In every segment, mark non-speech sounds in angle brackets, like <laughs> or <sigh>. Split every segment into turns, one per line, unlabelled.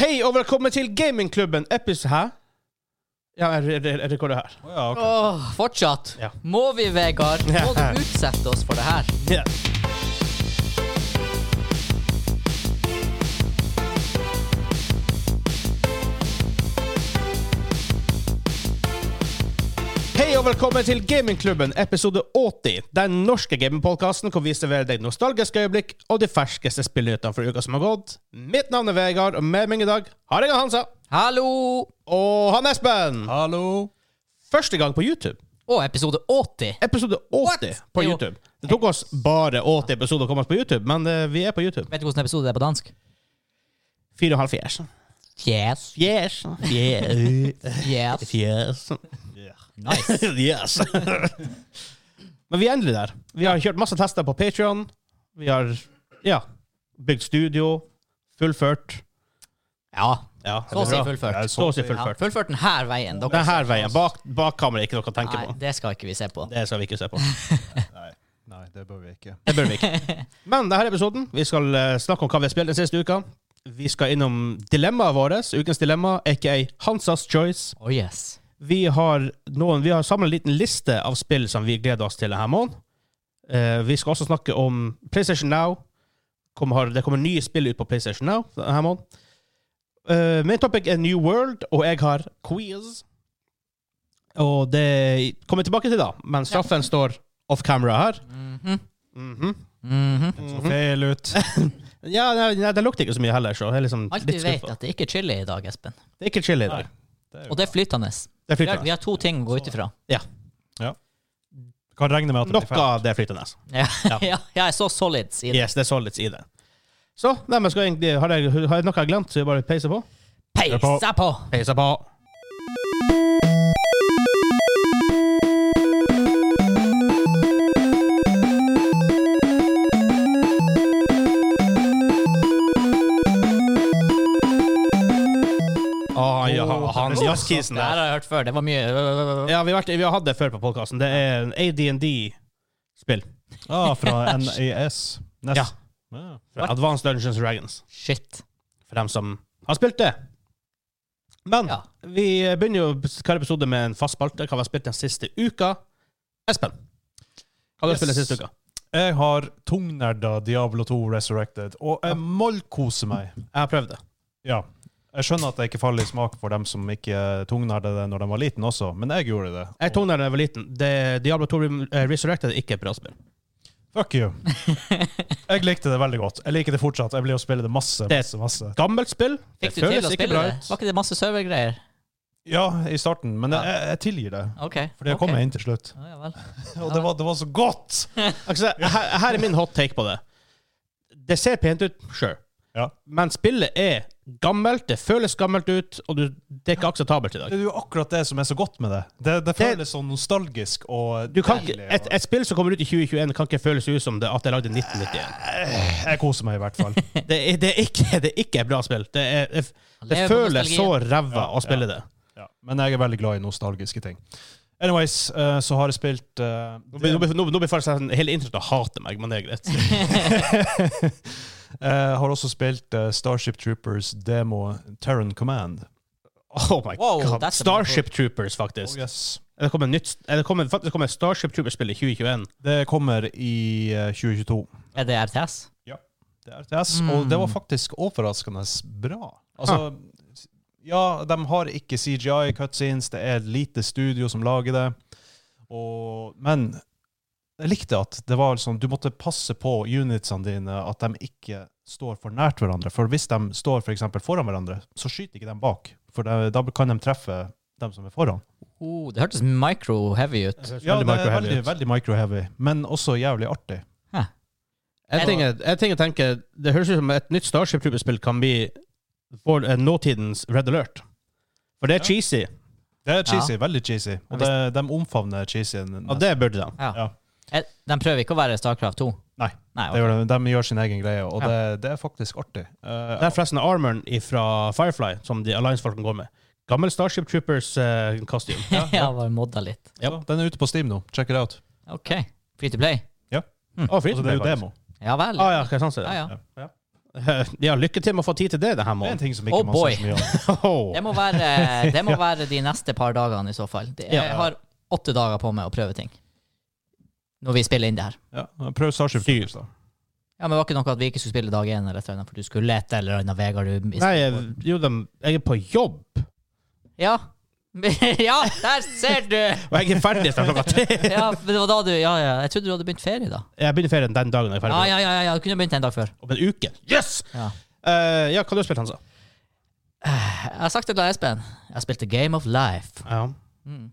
Hei og velkommen til gamingklubben Epis... Hæ? Ja, jeg re- re- rekorder her.
Å, ja, ok.
Åh, fortsatt.
Ja.
Må vi, Vegard? Må
<laughs>
du utsette oss for det her?
Ja. Hei og velkommen til Gamingklubben, episode 80. Den norske gamingpodkasten hvor vi serverer deg nostalgiske øyeblikk og de ferskeste spillnyhetene for uka som har gått. Mitt navn er Vegard, og med meg i dag har jeg Hansa
Hallo!
og han Espen.
Hallo.
Første gang på YouTube.
Å, episode 80.
Episode 80
What?
på
Jo.
YouTube. Det tok oss bare 80 episoder å komme oss på YouTube, men eh, vi er på YouTube.
Vet du hvordan episode det er på dansk?
Fire og en halv fjes.
Yes.
Fjes. Fjes. <laughs>
<laughs> Yes.
Fjes.
Nice.
<laughs> Yes. Men vi er endelig der. Vi har kjørt masse tester på Patreon Vi har ja, bygd studio. Fullført.
Ja.
Ja, det
Så å
blir
si
bra.
fullført.
Jeg
Så å si
Ja,
fullført.
fullført den her veien. Dere
Denne veien. Bak, bak kameraet ikke noe å tenke
Nei,
på.
det skal ikke vi se på.
Det skal vi ikke se på.
Nei. Nei, det bør vi ikke.
Det bør vi ikke. <laughs> Men denne episoden, vi skal eh, snakke om hva vi har spilt den siste uka. Vi skal innom dilemmaet vårt, ukens dilemma, aka Hansas Choice.
Oh yes.
Vi har, noen, vi har samlet en liten liste av spill som vi gleder oss til denne måneden. Eh, vi skal også snakke om PlayStation Now. Kom, har, det kommer nye spill ut på PlayStation Now denne måneden. Eh, min topic er New World, og jeg har quiz. Og det kommer jeg tilbake til da, men straffen står off camera her.
Mhm.
Mhm.
Mhm.
Så feil ut.
Ja, nei, nei, den lukter ikke så mye heller, så jeg er liksom
Alltid vet
skuffa.
at det ikke er chili i dag, Espen.
Det er ikke chili i dag.
Det er
Og
jo
det er flytende.
Det er
Vi har, vi
flytende.
har to ting å gå ut ifra.
bra. Kan regne med at det blir
Noe
feil.
av det er flytende.
Ja,
Ja.
<laughs> ja, jeg så solids i det.
Yes, det er solids i det. Så, nei, men skal jeg egentlig, har, jeg, har jeg noe jeg har glemt, så jeg bare peiser på?
er på.
Peisa på!
Peiser på. Ah, ja, han, han jazzkisen
Det her
der.
har jeg hørt før. Det var mye
Ja, vi har, vært, vi har hatt det før på podkasten. Det er en AD&D-spill.
Ah, fra NAS. Nest.
Ja.
Ja.
Fra Advanced Dungeons and Dragons.
Shit.
For dem som har spilt det. Men
Ja.
vi begynner jo hver episode med en fast spalte. Hva vi har spilt den siste uka? Espen, hva har du
Yes.
spilt den siste uka?
Jeg har tungnerda Diablo 2 Resurrected, og
Ja.
jeg mollkoser meg.
Jeg har prøvd det.
Ja. Jeg skjønner at det ikke faller i smak for dem som ikke tungnerda det når de var liten også, men jeg gjorde det.
Jeg tok den da jeg var liten. Det, Diablo 2 Re- eh, Resurrected er ikke et bra spill.
Fuck you. Jeg likte det veldig godt. Jeg liker det fortsatt. Jeg blir å spille det masse,
Det-
masse, masse.
Gammelt spill. Det
Fikk du til
føles
å
ikke
spille
bra
det?
ut.
Var ikke det masse servergreier?
Ja, i starten, men
Ja.
jeg, jeg tilgir det.
Ok.
For det
ok.
kom jeg inn til slutt.
Ja, ja vel.
Og det var, det var så godt!
Altså, her, her er min hot take på det. Det ser pent ut, sure.
Ja.
Men spillet er gammelt, det føles gammelt ut, og du, det er ikke akseptabelt i dag.
Det er jo akkurat det som er så godt med det. Det, det føles så nostalgisk og
Du kan ikke,
deilig,
et, et spill som kommer ut i 2021, kan ikke føles ut som det at det er lagd i
<laughs>
1991.
og- Jeg koser meg i
<laughs>
hvert fall.
Det er, det er, ikke, det er ikke et bra spill. Det, er, det,
Han
det
lever på
føles så
nostalgien.
ræva
Ja,
å spille det.
Ja. Men jeg er veldig glad i nostalgiske ting. Anyways, eh, så har jeg spilt eh,
Nå blir- nå blir- Nå nå blir faktisk sånn- hele internettet å hate meg, men det er greit.
<laughs>
Jeg har også spilt <laughs> eh, Starship Troopers demo Terran Command.
Oh my
Wow,
god.
that's a
Starship Troopers, faktisk.
Oh, yes.
Det kommer nytt, eh, det kommer, faktisk kommer Starship Troopers-spill i 2021.
Det kommer i eh, 2022.
Er det RTS?
Det er RTS,
Mm.
og det var faktisk overraskende bra. Altså, ja, de har ikke CGI cutscenes, det er et lite studio som lager det. Og, men jeg likte at det var sånn, du måtte passe på unitsene dine, at de ikke står for nært hverandre. For hvis de står for eksempel foran hverandre, så skyter ikke de bak. For da- da kan de treffe dem som er foran.
Oh, det hørtes micro-heavy ut.
Ja, det er
micro-heavy
veldig,
ut.
veldig micro-heavy, men også jævlig artig.
En ting, jeg, en ting jeg tenker, Det høres ut som et nytt Starship Troopers-spill kan bli for, eh, nåtidens Red Alert. For det er
Ja.
cheesy,
Det er cheesy, veldig cheesy.
Men
Og det, de omfavner cheesyen.
og det burde de.
Ja.
Ja.
Eh, De prøver ikke å være Starcraft 2?
Nei.
Nei
Det
ok.
gjør de, de gjør sin egen greie, og
Ja.
det, det er faktisk artig. Eh,
Det er forresten armoren fra Firefly, som de Alliance-folkene går med. Gammel Starship eh, Troopers-kostyme.
<laughs>
<laughs>
ja, bare modda litt.
ja.
så Den er ute på Steam nå. Check it out.
OK. Free to play?
Å, free
Altså,
to
det
play,
er jo
faktisk.
demo.
Ja vel.
Ah, ja, hva er sant, det?
ja, ja.
Ja.
<laughs> Ja, lykke til med å få tid til det denne
Det er en
måneden.
ting som
Oh
ikke man
boy.
snakker så mye Oh.
<laughs>
om.
Det må være, det må være de neste par dagene i så fall. Det,
Ja.
jeg har åtte dager på meg å prøve ting. Når vi spiller inn det her.
Ja, prøv Starship
Syv.
Troopers, da.
Ja, men det var ikke noe at vi ikke skulle spille dag én eller et eller annet, for du skulle et eller annet Vegard du
Nei,
mistet
jeg,
på.
jo, de, jeg er på jobb,
Ja. <laughs> ja, der ser du!
og jeg er ferdig snart klokka
<laughs>
tre.
Ja, men det var da du Ja, ja. Jeg trodde du hadde begynt ferie, da.
Jeg begynner ferien den dagen jeg er ferdig.
Ah,
Ja,
med
ja, ja, ja, ja. Du kunne begynt en dag før.
jobb. Om en uke. Yes!
Ja.
Eh, ja, hva har du spilt, Hansa?
Eh, Jeg har sagt det til Espen. Jeg spilte Game of Life.
Ja.
Mm.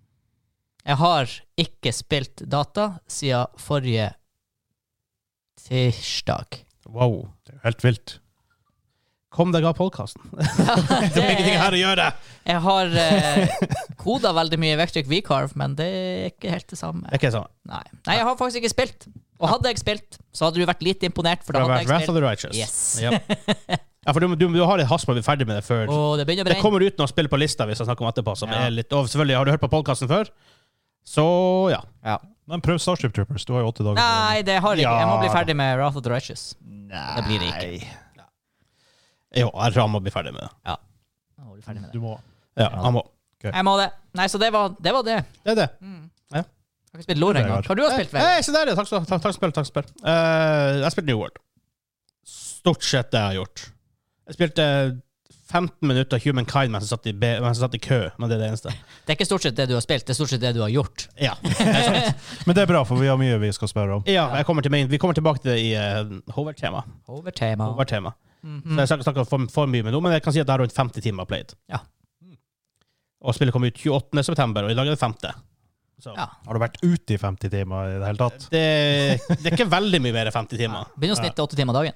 Jeg har ikke spilt data siden forrige tirsdag.
Wow.
Det er jo helt vilt.
Kom deg av podkasten. <laughs> Det blir ingenting her å gjøre.
Jeg har eh, koda veldig mye Vectric V-Carve, men det er ikke helt det
Det
samme.
er ikke sånn.
Nei. Nei, jeg har faktisk ikke spilt. Og hadde jeg spilt, så hadde du vært litt imponert, for
For det
da hadde
har vært
jeg
Wrath of
spilt.
the Righteous.
Yes.
Ja. ja, for du, må- du, du har et hast med å bli ferdig med det før.
Og det begynner å
Det
brenne.
kommer ut noen spill på lista vi skal snakke om etterpå, som
Ja.
er litt Og selvfølgelig, har du hørt på podkasten før? Så ja.
Ja.
Men prøv Starship Troopers. Du har jo åtte dager.
Nei, det har jeg ikke. Jeg må bli
Ja.
ferdig med Wrath of the Righteous. Det blir det ikke.
Jo, jeg tror han må bli ferdig med det.
Jeg må bli ferdig med det.
Du må.
Ja, han må.
Jeg må det. Nei, så det var det. Var det.
Det er det.
Jeg har ikke spilt LOR engang. Hva har du har spilt, Vegard?
Hei, se der, ja. Takk skal du ha. Takk- Takk spill, takk spill. Eh, jeg spilte New World. Stort sett det jeg har gjort. Jeg spilte 15 minutter Humankind mens jeg satt i, be- mens jeg satt i kø, men det er det eneste.
Det er ikke stort sett det du har spilt, det er stort sett det du har gjort.
Ja, det er sant.
Men det er bra, for vi har mye vi skal spørre om.
Ja, jeg kommer til main. Vi kommer tilbake til det i uh, hovedtema.
Over tema.
hovedtema. Så
Mhm.
jeg skal ikke snakke for, for mye med noe, men jeg kan si at det er rundt 50 timer played.
Ja.
Og spillet kom ut 28. september, og i dag er det 5. Så
Ja.
Har du vært ute i 50 timer i det hele tatt?
det, det er ikke veldig mye mer enn 50 timer.
Begynner å snitte åtte timer dagen.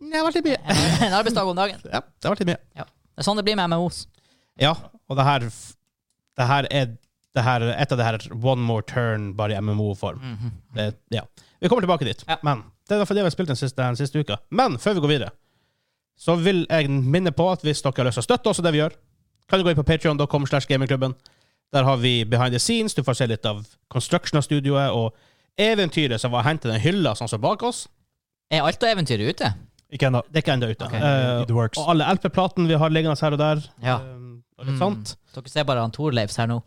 Nei, Det har vært litt mye.
En arbeidsdag om dagen.
<laughs> Ja, det har vært litt mye.
Det er sånn det blir med MMOs.
Ja, og det her, det her er det her, et av det her one more turn, bare i MMO-form.
Mhm.
Det, ja. Vi kommer tilbake dit.
Ja.
Men det er derfor det vi har spilt den siste, den siste uka. Men før vi går videre, så vil jeg minne på at hvis dere har lyst til å støtte oss i det vi gjør, kan du gå inn på patreon.com slash gamingklubben. Der har vi behind the scenes. Du får se litt av construction av studioet og eventyret som var hentet i den hylla som står bak oss.
Er alt og eventyret ute?
Ikke ennå.
Det er ikke enda ute.
Ok.
Eh,
It works.
og alle LP-platene vi har liggende her og der.
Ja.
eh, og litt sånt.
Mm. Dere ser bare han Torleifs her nå.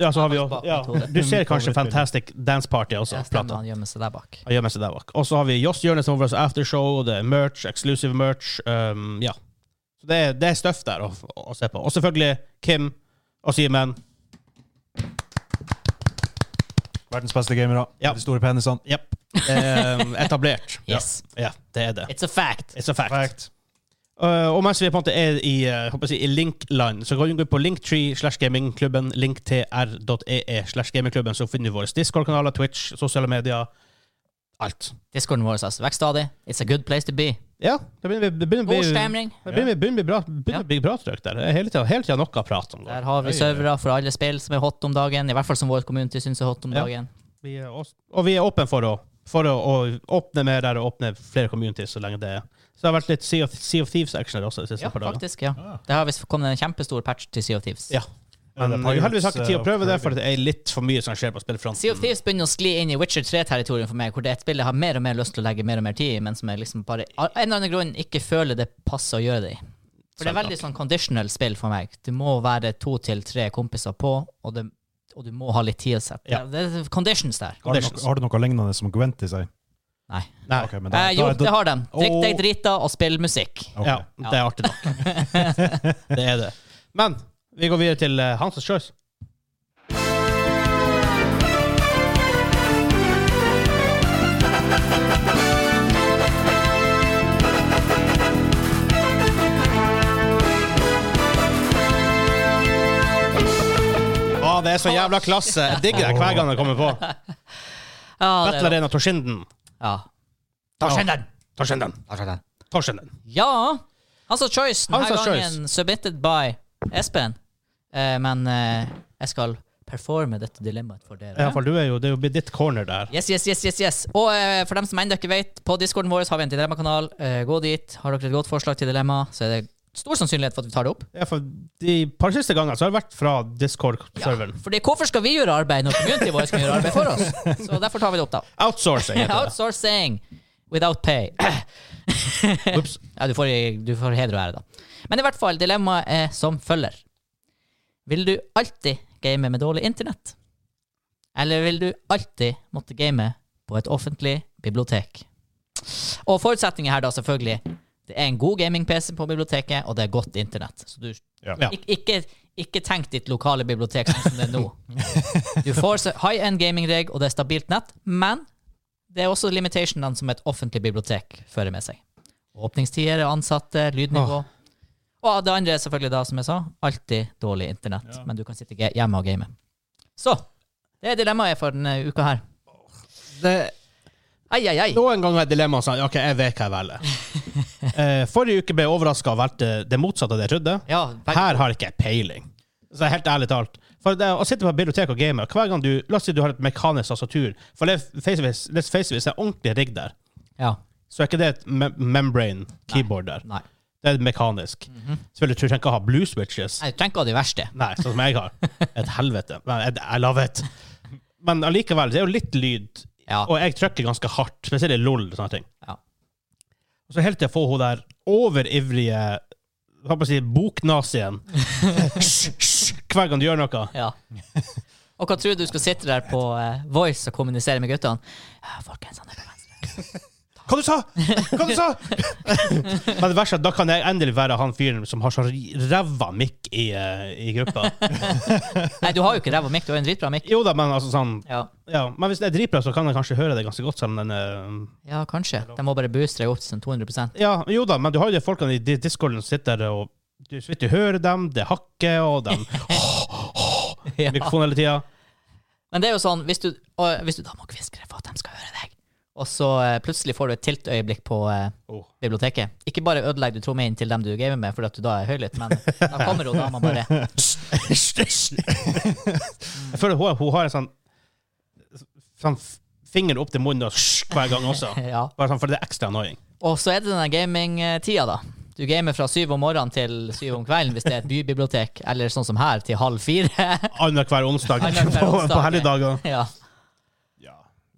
Ja, så har vi jo,
Bak
ja.
metoden.
Du ser kanskje Fantastic Dance Party også.
Ja,
plata.
stemmer, han gjemmer seg der bak.
Han gjør med seg der bak. Og så har vi Joss Hjørnes som har vårt aftershow, det er merch, exclusive merch. Um, ja. Så det er, det er støff der å, å se på. Og selvfølgelig Kim og Simen.
Verdens beste gamere.
Ja.
De store penisene.
Jepp. Um,
<laughs>
etablert.
Yes.
Ja, det er det.
It's a fact.
It's a fact.
Perfekt.
Uh, og mens vi på en måte er i, uh, håper jeg å si, i Link-land, så kan du gå på linktree slash gamingklubben, linktr.ee slash gamingklubben, så finner du våre Discord-kanaler, Twitch, sosiale medier, alt.
Discorden vår altså. vokser stadig. It's a good place to be.
Ja, det begynner vi- det begynner å
God
bli
stemning.
det begynner å bli- begynner å bli bra- begynner å bli bra trøkk der. Det er Hele tida hele tida noe å prate om.
Der har vi servere for alle spill som er hot om dagen. I hvert fall som vår community syns er hot om
Ja.
dagen.
Vi er også, og vi er åpne for å, for å, å åpne mer der og åpne flere communities så lenge det er. Så det har vært litt Sea of, sea of Thieves-action her også de siste
Ja,
par dagene.
faktisk. ja.
Ah.
Det har visst kommet en kjempestor patch til Sea of Thieves.
Ja. Men
Er det
jeg har heldigvis har
Pirates,
ikke tid å
eh,
prøve det,
Caribbean?
for det er litt for mye som skjer på
Sea of
spillfronten.
Thieves begynner å skli inn i Witcher 3-territorium for meg, hvor det er et spill jeg har mer og mer lyst til å legge mer og mer tid i, men som jeg liksom bare av en eller annen grunn ikke føler det passer å gjøre det i. For det er veldig sånn conditional spill for meg. Du må være to til tre kompiser på, og, det, og du må ha litt tid å sette.
Ja.
Det er conditions der.
Har du, noe, har du noe lignende som Gwent i seg?
Nei.
Nei.
Ok, men da-
Eh, jo,
da-
det har de. Drikk deg
Åh.
drita og spill musikk.
ok.
Ja, det er artig nok. <laughs> det er det. Men vi går videre til eh, Hansens Choice. Å, det er så jævla klasse! Jeg digger det hver gang jeg kommer på.
Ja, det
Battle
er,
Arena Torskinden.
ja. Da skjer den!
Torskinden. Torskinden.
Ja! Hansa Choice denne
Hans og
gangen, submitted by Espen. Eh, men eh, jeg skal performe dette dilemmaet for dere.
I hvert fall, du er jo, det er jo blitt ditt corner der.
Yes, yes, yes, yes, yes. Og eh, for dem som ennå ikke vet, på discorden vår har vi en dilemmakanal. Eh, gå dit. Har dere et godt forslag til dilemma, så er det stor sannsynlighet for at vi tar det opp.
Ja, for de par siste gangene så har det vært fra Discord-serveren.
Fordi hvorfor skal vi gjøre arbeid når communityen vår skal gjøre arbeid for oss? Så derfor tar vi det opp, da. <laughs>
Outsourcing heter det.
Outsourcing. Without pay.
Ups.
Ja, du får, du får heder og ære, da. Men i hvert fall, dilemmaet er som følger. Vil du alltid game med dårlig internett? Eller vil du alltid måtte game på et offentlig bibliotek? Og forutsetningen her, da, selvfølgelig. Det er en god gaming-PC på biblioteket, og det er godt internett. Så du,
Ja.
Ja.
Ik ikke, ikke tenk ditt lokale bibliotek sånn som det er nå. Du får så- high-end gaming-reg, og det er stabilt nett, men det er også limitationene som et offentlig bibliotek fører med seg. Åpningstider, ansatte, lydnivå. Og det andre er selvfølgelig da, som jeg sa, alltid dårlig internett.
Ja.
Men du kan sitte ge- hjemme og game. Så det er dilemmaet for denne uka her.
Det,
Ai, ai, ai.
Noen ganger er dilemmaet sånn OK, jeg vet hva jeg velger. Eh, forrige uke ble jeg overraska og valgte det motsatte av det jeg trodde.
Ja, begge-
Her har ikke jeg peiling. Så helt ærlig talt. For det å sitte på et bibliotek og game og Hver gang du La oss si du har et mekanisk tastatur For det er face it, let's face it, hvis det er ordentlig rigg der,
ja.
så er ikke det et me membrane keyboard der.
Nei.
Det er mekanisk. Selvfølgelig tror jeg ikke å ha blue switches.
Nei, Du trenger ikke å ha de verste.
Nei, sånn som jeg har. Et helvete. Men jeg, jeg love it. Men allikevel, det er jo litt lyd,
Ja.
og jeg trykker ganske hardt. Spesielt i LOL og sånne ting.
Ja.
Og så helt til jeg får hun der overivrige hva skal jeg si, boknazien hver gang du gjør noe.
Ja. Og hva tror du du skal sitte der på eh, Voice og kommunisere med guttene? Ja, folkens, han er på venstre.
Hva du sa?! Hva du sa?! Men det verste er at da kan jeg endelig være han fyren som har så ræva mikk i, eh, i gruppa.
Nei, du har jo ikke ræva mikk, du har en dritbra mikk.
Jo da, men altså sånn
Ja,
ja. Men hvis det er dritbra, så kan jeg kanskje høre det ganske godt. Selv om den eh,
ja kanskje. De må bare booste deg opp til sånn 200
<laughs> Ja, jo da, men du har jo de folkene i di- discorden som sitter der, og du så vidt du hører dem, det hakker, og
<laughs>
de
Ja.
mikrofonen hele tida.
Men det er jo sånn, hvis du, og, hvis du da må kviskre for at de skal høre deg, og så eh, plutselig får du et tiltøyeblikk på eh,
Oh.
biblioteket. Ikke bare ødelegger du trommehinnen til dem du gamer med, fordi at du da er høylytt, men da kommer hun dama bare.
<laughs> Jeg føler hun, hun har en sånn, sånn f- finger opp til munnen og hver gang også.
Ja.
Bare sånn, for det er ekstra annoying.
Og så er det denne gamingtida, da. Du gamer fra syv om morgenen til syv om kvelden hvis det er et bybibliotek, eller sånn som her, til halv fire. <laughs>
Annenhver onsdag
Annenhver
<laughs> på,
onsdag,
på helligdager.
ja.
Ja.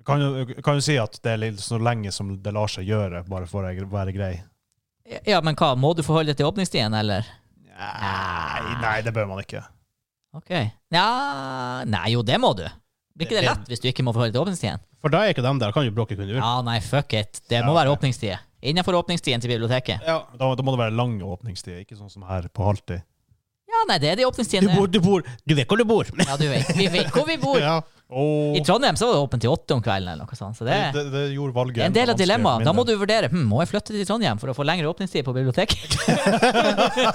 Kan jo, kan jo si at det er litt så lenge som det lar seg gjøre, bare for å være grei.
ja, men hva, må du forholde deg til åpningstiden, eller?
Nei, nei, det bør man ikke.
Ok. Ja, nei, jo, det må du. Blir ikke det lett hvis du ikke må forholde deg til åpningstiden?
For da er ikke dem der. Kan jo bråke kun ut.
Ja, nei, fuck it. Det må
Ja,
være
ok.
åpningstid. Innenfor åpningstiden til biblioteket.
Ja.
Da, da må det være lang åpningstid, ikke sånn som her på halvtid.
Ja, nei, det er de
Du
åpningstidene.
bor, du bor Du vet hvor du bor!
Ja, du vet. Vi vet hvor vi
<laughs>
bor.
Ja.
Og
I Trondheim så var det åpent til åtte om kvelden, eller noe sånt. Så det
det,
er
det, det gjorde valget
en del av
vanskeligere
dilemmaet. Da må
mindre.
du vurdere hm, må jeg flytte til Trondheim for å få lengre åpningstid på biblioteket.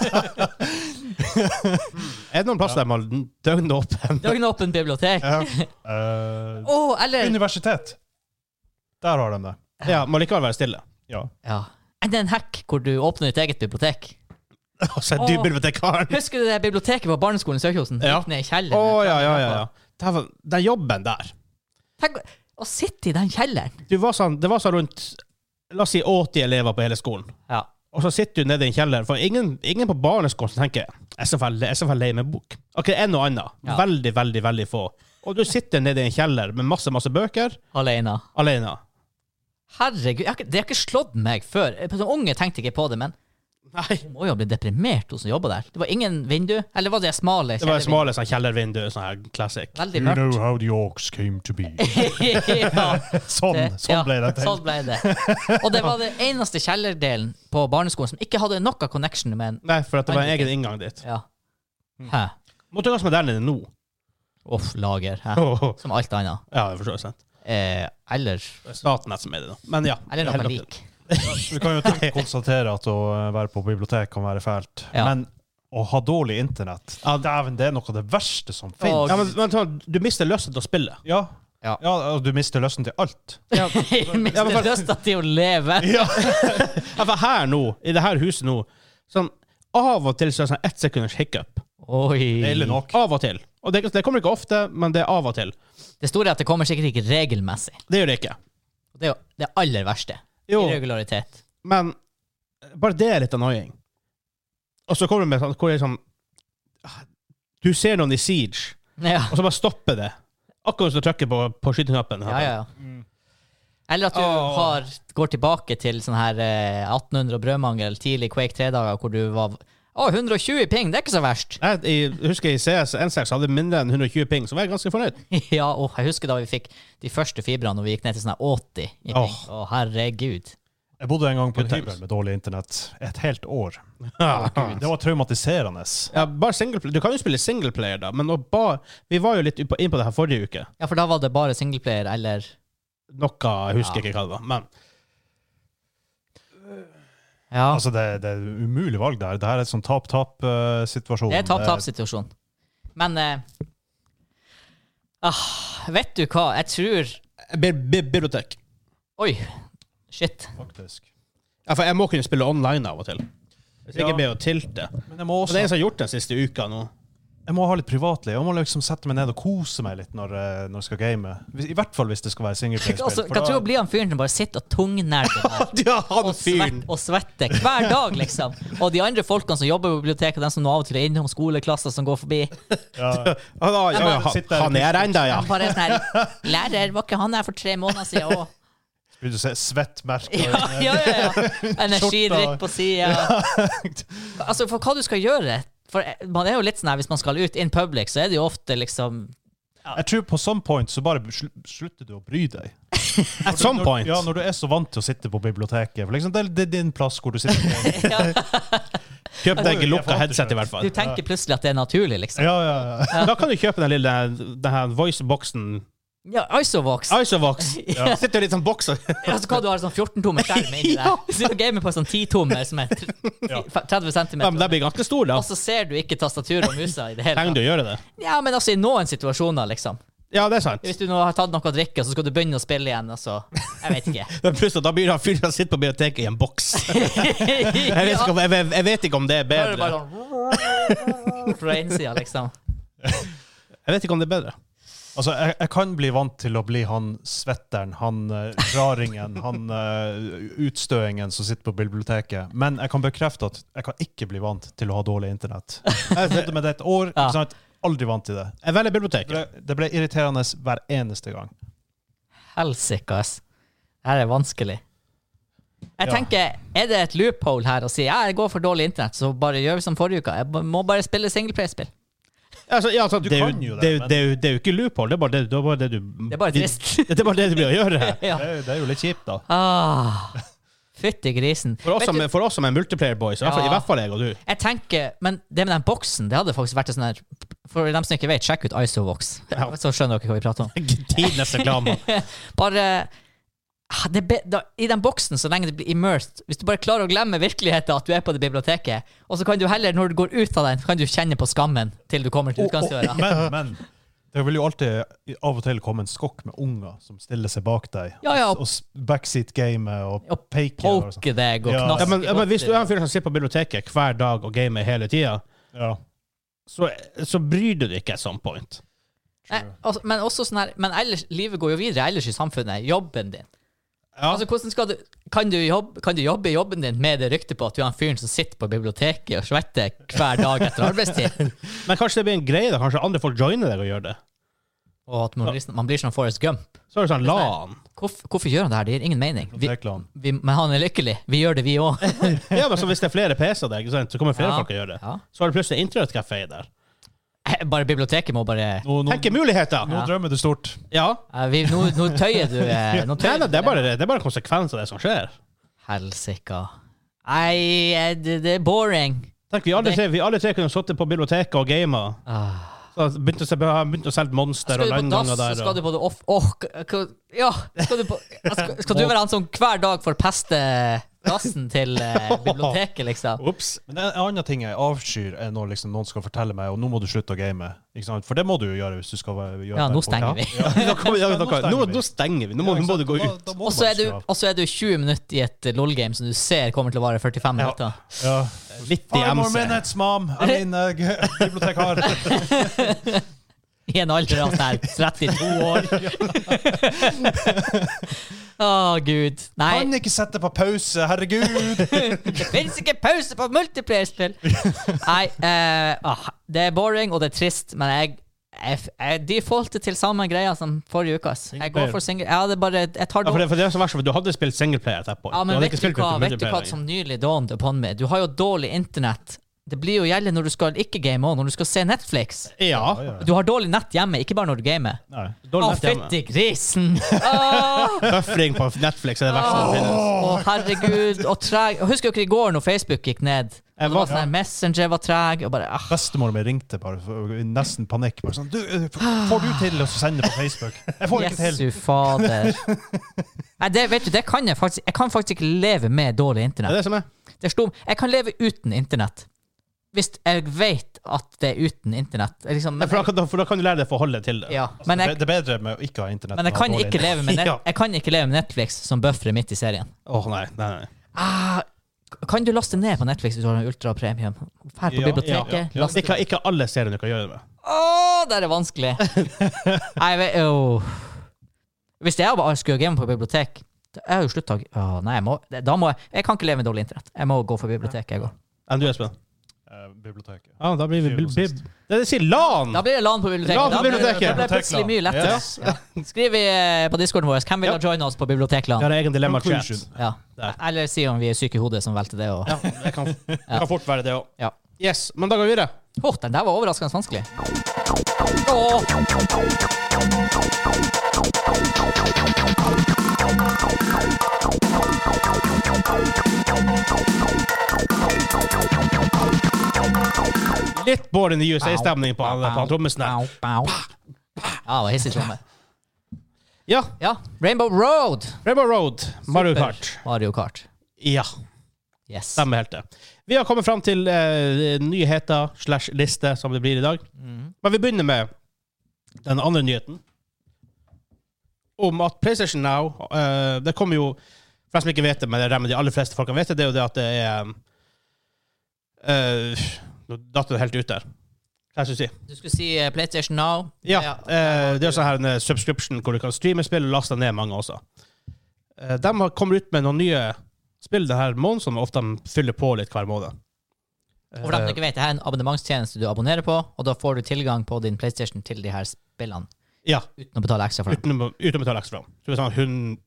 <laughs>
Er det noen plass der man har døgnåpen?
Døgnåpent bibliotek.
Eh,
Å, eller
Universitet. Der har de det.
<laughs> Ja, må likevel være stille.
Ja.
ja. Eller en hack hvor du åpner ditt eget bibliotek.
Og <laughs> så er du
Åh.
bibliotekaren!
Husker du det biblioteket på barneskolen i Sørkjosen?
Ja.
Gikk ned i kjelleren.
Å, ja, ja,
altså.
ja. ja. Det var, den jobben der
Tenk å sitte i den kjelleren.
du var sånn, Det var sånn rundt La oss si 80 elever på hele skolen.
Ja.
Og så sitter du nede i en kjeller. For ingen, ingen på barneskolen som tenker jeg er så veldig, jeg er så veldig lei med bok. Ok, En og annen.
Ja.
Veldig, veldig veldig få. Og du sitter nede i en kjeller med masse masse bøker
Alene.
alene.
Herregud, jeg har ikke, det har ikke slått meg før. Jeg- Som unge tenkte jeg ikke på det, men
Nei.
du må jo ha blitt deprimert, hun som jobber der. Det var ingen vindu. Eller var det smale?
Det var
kjellervindu?
smale sånn kjellervindu. Sånn her classic.
Veldig mørkt.
how the orcs came to be.
<laughs> ja,
Sånn, sånn
ja,
ble det til.
Sånn ble det. Og det var den eneste kjellerdelen på barneskolen som ikke hadde noe connection med en
Nei, for at det var en egen inngang dit.
Ja. Hæ?
Måtte du ha moderne nå?
Uff, lager. Hæ?
Åh,
Som alt annet.
Ja, jeg forstår. Sant.
Eh, eller
Det er Staten er som er det nå. Men ja.
Eller
helt
noe
riktig.
lik.
<laughs> Vi kan jo trygt konstatere at å eh, være på bibliotek kan være fælt.
Ja.
Men å ha dårlig internett, dæven, det er noe av det verste som finnes.
Ja, men, men sånn, du mister lysten til å spille.
Ja.
Ja.
ja, og du mister lysten til alt.
<laughs> Ja,
Jeg
Ja, men
mister
for-
lysta til å leve.
for her nå, i det her huset nå, sånn av og til så er det sånn ett sekunders hiccup.
Oi.
Ille nok.
Av og til. Og det, det kommer ikke ofte, men det er av og til.
Det store er at det kommer sikkert ikke regelmessig.
Det gjør det ikke.
Og det er jo det aller verste.
Jo,
Irregularitet.
men bare det er litt annoying. Og så kommer det med sånn hvor det er sånn ah, Du ser noen i Siege,
Ja,
og så bare stopper det. Akkurat som du trykker på, på skyteknappen.
ja, ja. ja. Eller at du
Åh.
har, går tilbake til sånn her eh, 1800 og brødmangel, tidlig Quake 3-dager, hvor du var Å, 120 ping, det er ikke så verst! <laughs>
Jeg, jeg husker i CS N6 hadde jeg mindre enn 120 ping, så var jeg ganske fornøyd.
ja, og jeg husker da vi fikk de første fibrene, og vi gikk ned til sånn her 80 i ping. Å,
Åh.
herregud.
Jeg bodde en gang på
Good
en
times. Ah,
hybel med dårlig internett. Et helt år.
<laughs> Ja.
Det var traumatiserende.
bare singleplayer. Du kan jo spille singleplayer, da, men å ba, vi var jo litt på- inn på det her forrige uke.
Ja, for da var det bare singleplayer, eller
Noe jeg husker
Ja.
ikke hva det var. Men
Ja.
Altså, det, det er et umulig valg der. Det her er en sånn tap-tap-situasjon. eh,
Det er tap-tap-situasjon. Men eh, ah, Vet du hva, jeg tror
bi bi bibliotek.
Oi, shit.
Faktisk.
Ja, for jeg må kunne spille online av og til. Hvis
Ja.
ikke blir jeg å tilte.
Men jeg må
Og det er
også
en som har gjort det den siste uka nå.
jeg må ha litt privatliv. Jeg må liksom sette meg ned og kose meg litt når, eh, når jeg skal game. Hvis- I hvert fall hvis det skal
<laughs>
være
Altså,
singleplayerspill.
hva tror du blir han fyren som bare sitter og tungnerder <laughs> der?
Ja, han
Og, svett, og svetter hver dag, liksom. Og de andre folkene som jobber på biblioteket, de som nå av og til er innom skoleklasser som går forbi.
Ja,
Han, ja, ja, ja, han, han er ennå, ja.
De bare er sånn her Lærer, var ikke han her for tre måneder siden òg?
vil du se
<laughs>
svettmerker?
Ja, ja, ja, ja. Energidrikk på sida. Altså, for hva du skal gjøre For eh, man er jo litt sånn her, Hvis man skal ut in public, så er det jo ofte liksom
Jeg tror på some point så bare sl slutter du å bry deg.
At some
Når-
point.
Ja, når du er så vant til å sitte på biblioteket. For liksom, det, er- det er din plass hvor du sitter. på-
<laughs>
ja,
Kjøp deg
Jeg
lukka
fatter
headset, i
ikke.
hvert fall.
Du tenker plutselig at det er naturlig, liksom.
Ja, ja, ja.
Da kan du kjøpe den lille den her voice-boksen.
Ja, Isovox.
Isovox. <laughs>
Ja.
Sitter litt sånn bokser.
Altså hva du har en sånn 14-tommer skjerm inni der.
Ja.
Du sitter og gamer på en sånn 10-tommer som er tr- <laughs>
Ja.
30 cm.
Men den blir ganske stor, da.
Og så ser du ikke tastaturet og musa i det hele
Trenger
tatt.
du å gjøre det?
Ja, men altså i noen situasjoner, liksom.
Ja, det er sant.
Hvis du nå har tatt noe å drikke, så skal du begynne å spille igjen, altså. Jeg vet ikke.
Men plutselig, da blir det han fyren som sitter på biblioteket i en boks. <laughs> Jeg vet, ikke om, jeg, vet- jeg vet ikke om det er
<laughs> Da er det
bedre.
bare sånn <laughs> Fra innsida, liksom.
Jeg vet ikke om det er bedre.
Altså, jeg, jeg kan bli vant til å bli han svetteren, han eh, raringen,
<laughs>
han eh, utstøingen som sitter på biblioteket. Men jeg kan bekrefte at jeg kan ikke bli vant til å ha dårlig internett. Jeg bodde med det et år,
Ja.
ikke sant? aldri vant til det.
Jeg velger biblioteket.
Det ble, det ble irriterende hver eneste gang.
Helsike, ass. Dette er vanskelig. Jeg
Ja.
tenker, er det et loophole her å si ja, jeg går for dårlig internett, så bare gjør vi som forrige uke. Jeg b- må bare spille singleplayerspill.
Altså, ja, altså,
Du
det, er jo,
kan jo det,
det, er jo-
men-
det, er jo- det er jo ikke loophole, det er bare det, det, er bare det du
Det er bare
<laughs>
trist. <laughs>
Det, er bare det du blir å gjøre.
Ja.
Det, er- det er jo litt kjipt, da.
Ah, Fytti grisen.
For oss
Vet
som,
du,
for oss som er multiplayer boys, i hvert fall- i
Ja.
hvert fall jeg og du. <laughs>
jeg tenker, men det med den boksen, det hadde faktisk vært en sånn her For dem som ikke vet, sjekk ut Isovox,
Ja.
så skjønner dere hva vi prater om.
Tidenes reklame.
Bare ah, det be, da, I den boksen, så lenge det blir immersed Hvis du bare klarer å glemme virkeligheten, at du er på det biblioteket, og så kan du heller, når du går ut av den, så kan du kjenne på skammen til du kommer til utgangsdøra.
Men, men det vil jo alltid av og til komme en skokk med unger som stiller seg bak deg.
Ja, ja,
Og s- backseat-gamet og,
Og
peker. Og sånn.
Poke deg og
Ja.
altså. Ja,
knaske
men, ja, men hvis du er en
godt i
fyr som sitter på biblioteket hver dag og gamer hele tida,
ja.
så, så bryr du deg ikke at some point.
Nei, altså, men også sånn her Men ellers, livet går jo videre ellers i samfunnet. Jobben din.
Ja.
Altså, hvordan skal du kan du, jobbe, kan du jobbe i jobben din med det ryktet på at du er han fyren som sitter på biblioteket og svetter hver dag etter
<laughs>
arbeidstid?
Men kanskje det blir en greie, da. Kanskje andre folk joiner deg og gjør det.
Og at man, blir sånn- man blir sånn Forrest Gump.
Så er det sånn, la han.
Hvorfor, hvorfor gjør han det her? Det gir ingen mening. Vi,
Bibliotekland.
vi, men han er lykkelig. Vi gjør det, vi òg.
Ja, men så hvis det er flere PC-er der, ikke sant, så kommer flere folk og gjør det.
sånn. Ja. Eh,
Så har du plutselig internettkafé der.
Bare biblioteket må bare
Nå, nå,
Tenk i muligheter!
nå
Ja.
drømmer du stort.
Eh, vi, nå, nå tøyer du eh,
<laughs>
nå
Nei,
tøyer
nei,
du
det, er bare, det er bare konsekvenser av det som skjer.
Helsika. Nei, eh, det, det er boring.
Tenk, vi alle tre, vi alle tre kunne sittet på biblioteket og gama.
Ah.
Så begynte å, se- begynte å selge monster og
Skal du på dass,
landganger
så
der.
skal
Og,
du på det off... Åh, k- k- ja! Skal du, på, skal, skal du være han som hver dag forpester dassen til
<laughs>
eh, biblioteket, liksom?
Ops.
Men en en annen ting jeg avskyr, er når liksom noen skal fortelle meg og nå må du slutte å game. Ikke sant? For det må du jo gjøre hvis du skal være- gjøre
Ja,
det
nå
på-
stenger vi.
Ja, nå, kommer- ja, nå,
stenger
nå,
vi.
nå stenger vi. Nå
Ja,
må,
ikke
nå må
sant?
du gå
Da-
ut.
da må
Og så
bare
er du,
skru av.
og så er du 20 minutter i et eh, LOL-game som du ser kommer til å vare 45 minutter.
ja.
Litt i
Five more
MC.
minutes, mom! I mean,
<laughs>
uh, bibliotekar.
I en alder av sånn her 32 år. Å, gud.
Kan
Nei,
ikke sette på pause, herregud!
det fins ikke pause på multiplierspill! Nei, eh, ah, det er boring, og det er trist, men jeg, Jeg, f- jeg defaulter til samme greia som forrige uke. ass. Jeg går for single. Ja, det er bare, jeg tar
Ja, for
det
det, for det er så verst, for du hadde spilt singleplayer at that point.
Ja, men
hadde
vet du, hva, vet du hva
multiplayer.
som nylig dawnet upon meg? Du har jo dårlig internett. Det blir jo gjeldig når du skal ikke game òg, når du skal se Netflix.
Ja.
ja, ja.
Du har dårlig nett hjemme, ikke bare når du gamer.
Nei.
Å,
Dårlig nett hjemme.
fytti grisen!
<laughs>
Åh,
Buffering på Netflix er det verste som finnes.
Åh, herregud. Og treg. Husker dere i går når Facebook gikk ned?
Jeg
Det var
var-
sånn her, Messenger var treg. Og bare, ah.
Bestemor mi ringte bare for- i nesten panikk. Bare sånn, du, eh, får du til å sende på Facebook? Jeg får ikke til.
Jesu fader. Nei, det, vet du, det kan jeg faktisk Jeg kan faktisk ikke leve med
Det
dårlig
er
internett.
det som er.
Det slo, jeg kan leve uten internett. Hvis jeg vet at det er uten internett. Liksom,
Ja,
men,
For da, kan- da- for da kan du lære deg å forholde deg til det.
ja, men,
Det
jeg,
det er bedre med å ikke ha internett.
men jeg,
enn å ha
kan
dårlig
ikke leve med net,
Ja.
jeg kan ikke leve med Netflix som bufferet midt i serien.
Åh, nei, nei, nei.
Ah, kan du laste ned på Netflix hvis du har en ultra premium? Fær på
Ja,
biblioteket,
ja, ja.
laste
Ikke, ikke alle serier du kan gjøre det med.
Åh, det
<laughs>
er vanskelig. Nei, jeg vet åh. Hvis jeg bare skulle game på bibliotek da er jo slutt å Åh, nei, jeg må, da må jeg Jeg kan ikke leve med dårlig internett. Jeg må gå for biblioteket. jeg går.
Enn du, Espen?
internett. Eh, Biblioteket.
Ja, da blir vi
Syvende og
bib...
sist.
bib- Det det sier LAN!
Da blir det LAN på biblioteket.
LAN på
Da blir det-
biblioteket.
Da blir det plutselig mye lettere.
Yes.
Ja. Skriv i, eh, på discorden vår hvem vil
Ja.
ha joine oss på
Vi
bibliotekland.
har egen dilemma-chat.
Conclusion.
Ja.
Der.
Eller si om vi er syke i hodet som valgte det. Og.
Ja, det kan, det kan fort være det òg.
Ja.
Yes, men da går vi videre.
Åh, den der var overraskende vanskelig. Åh.
Litt Born in the USA-stemning på, han- på han trommisen her.
Bow, bow. Ja, det var hissig tromme.
Ja,
Ja, Rainbow Road.
Rainbow Road, Mario
Super.
Kart.
Mario Kart.
Ja,
Yes.
stemmer helt det. Vi har kommet fram til eh, nyheter slash liste, som det blir i dag.
Mhm.
Men vi begynner med den andre nyheten. Om at PlayStation Now eh, Det kommer jo For de som ikke vet det, men jeg regner med de aller fleste folkene vet det, det er jo det at det er eh, Nå datt det helt ut der. Hva skal jeg si?
Du skulle si eh, PlayStation Now.
Ja. eh, det er jo sånn her en eh, subscription hvor du kan streame spill og laste ned mange også. Eh, de har- kommer ut med noen nye spill denne måneden som ofte de fyller på litt hver måned.
Og for dem som
Eh,
ikke vet, det her er en abonnementstjeneste du abonnerer på, og da får du tilgang på din PlayStation til de her spillene
ja,
uten å betale ekstra for dem.
uten, å- uten å betale ekstra. Så det er sånn 100,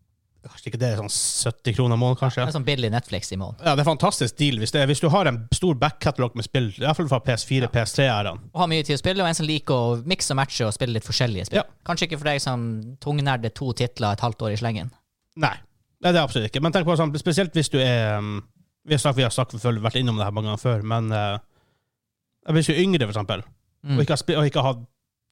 kanskje ikke det er sånn 70 kroner i måneden,
Det
kanskje?
er sånn billig Netflix i måneden.
Ja, det er en fantastisk deal hvis, det, er- hvis du har en stor backkatalog med spill, i hvert fall fra PS4, PS3-æraen.
Og har mye tid å spille, og en som liker å mikse og matche og spille litt forskjellige spill.
Ja.
Kanskje ikke for deg som tungnerder to titler et halvt år i slengen.
Nei, Nei, det er absolutt ikke. Men tenk på sånn, spesielt hvis du er um, Vi har snakket, vi har snakket, selvfølgelig vært innom det her mange ganger før, men eh, hvis du er yngre, for eksempel, og
Mm.
ikke har, spi- og ikke har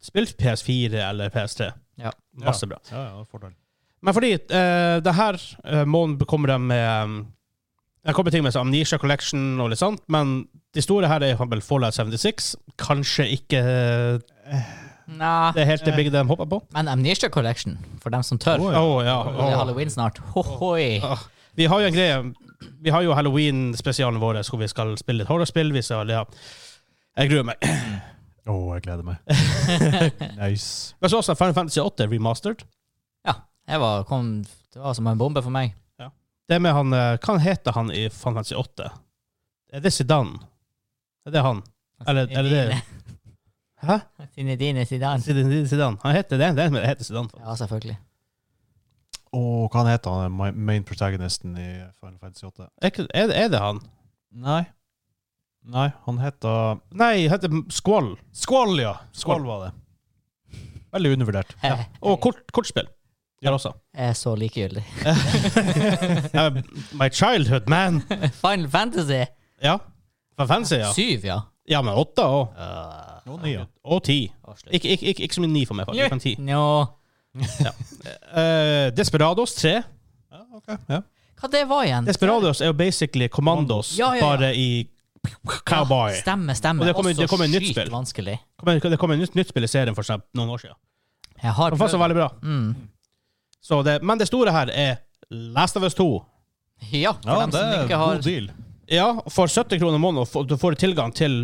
spilt PS4 eller PS3
Ja.
Masse bra.
Ja, ja, det er fordel.
Men fordi uh, det her eh, måneden kommer de med um, Det kommer ting med sånn Amnesia Collection og litt sånt, men de store her er for eksempel Fallout 76. Kanskje ikke eh,
Nei.
det er helt det bygget de hopper på.
Men Amnesia Collection, for dem som tør.
Å ja.
Det er halloween snart. Hohoi. <laughs>
Åh. Vi har jo en greie Vi har jo Halloween-spesialen vår hvor vi skal spille litt horrorspill. Vi skal, ja. Jeg gruer meg.
Å, jeg gleder meg.
<laughs>
nice.
Men så også Final Fantasy 8 remastered.
Jeg var, kom, det var som en bombe for meg.
Det med han eh, Hva heter han i Final Fantasy 8? Er det Zidane? Er det han? Eller- eller det- Hæ?
Zinedine Zidane.
Zidane? Zidane. Han heter det. Det heter Zidane. faktisk.
Ja, <laughs> selvfølgelig.
Og hva han heter han my- main protagonisten i Final Fantasy 8?
Er, ikke- er, det- er det han?
Nei. Nei, han heter
Nei, han heter Squall.
Skål, ja! Skål var det. Veldig undervurdert.
Ja. Og kort, kortspill. Ja, også.
Jeg er så likegyldig.
Eh, my childhood man.
<laughs> Final Fantasy
Ja. Final Fantasy, ja.
7, ja.
Ja, men 8 og,
Og nye.
og 10.
Å, slutt.
Ikke, ikke, ikke, ikke så mye 9 for meg, faktisk. Men 10. <laughs>
Nå.
Eh, Desperados 3.
Ja, ok. Ja.
Hva det var igjen?
Desperados er jo basically Commandos,
Ja, ja, ja.
bare i cowboy.
Stemme, stemme.
Og det kommer-
Også
det kommer et nytt
sykt
spill.
vanskelig.
Kom- Det kom et nytt, nytt spill i serien for eksempel, noen år siden.
Jeg har
Det var faktisk
prøvd.
veldig bra.
Mm.
Så det, men det store her er Last of Us 2.
Ja, for
ja,
dem
det
som
er
ikke har
god deal.
Ja, for 70 kroner i måneden og få- du får tilgang til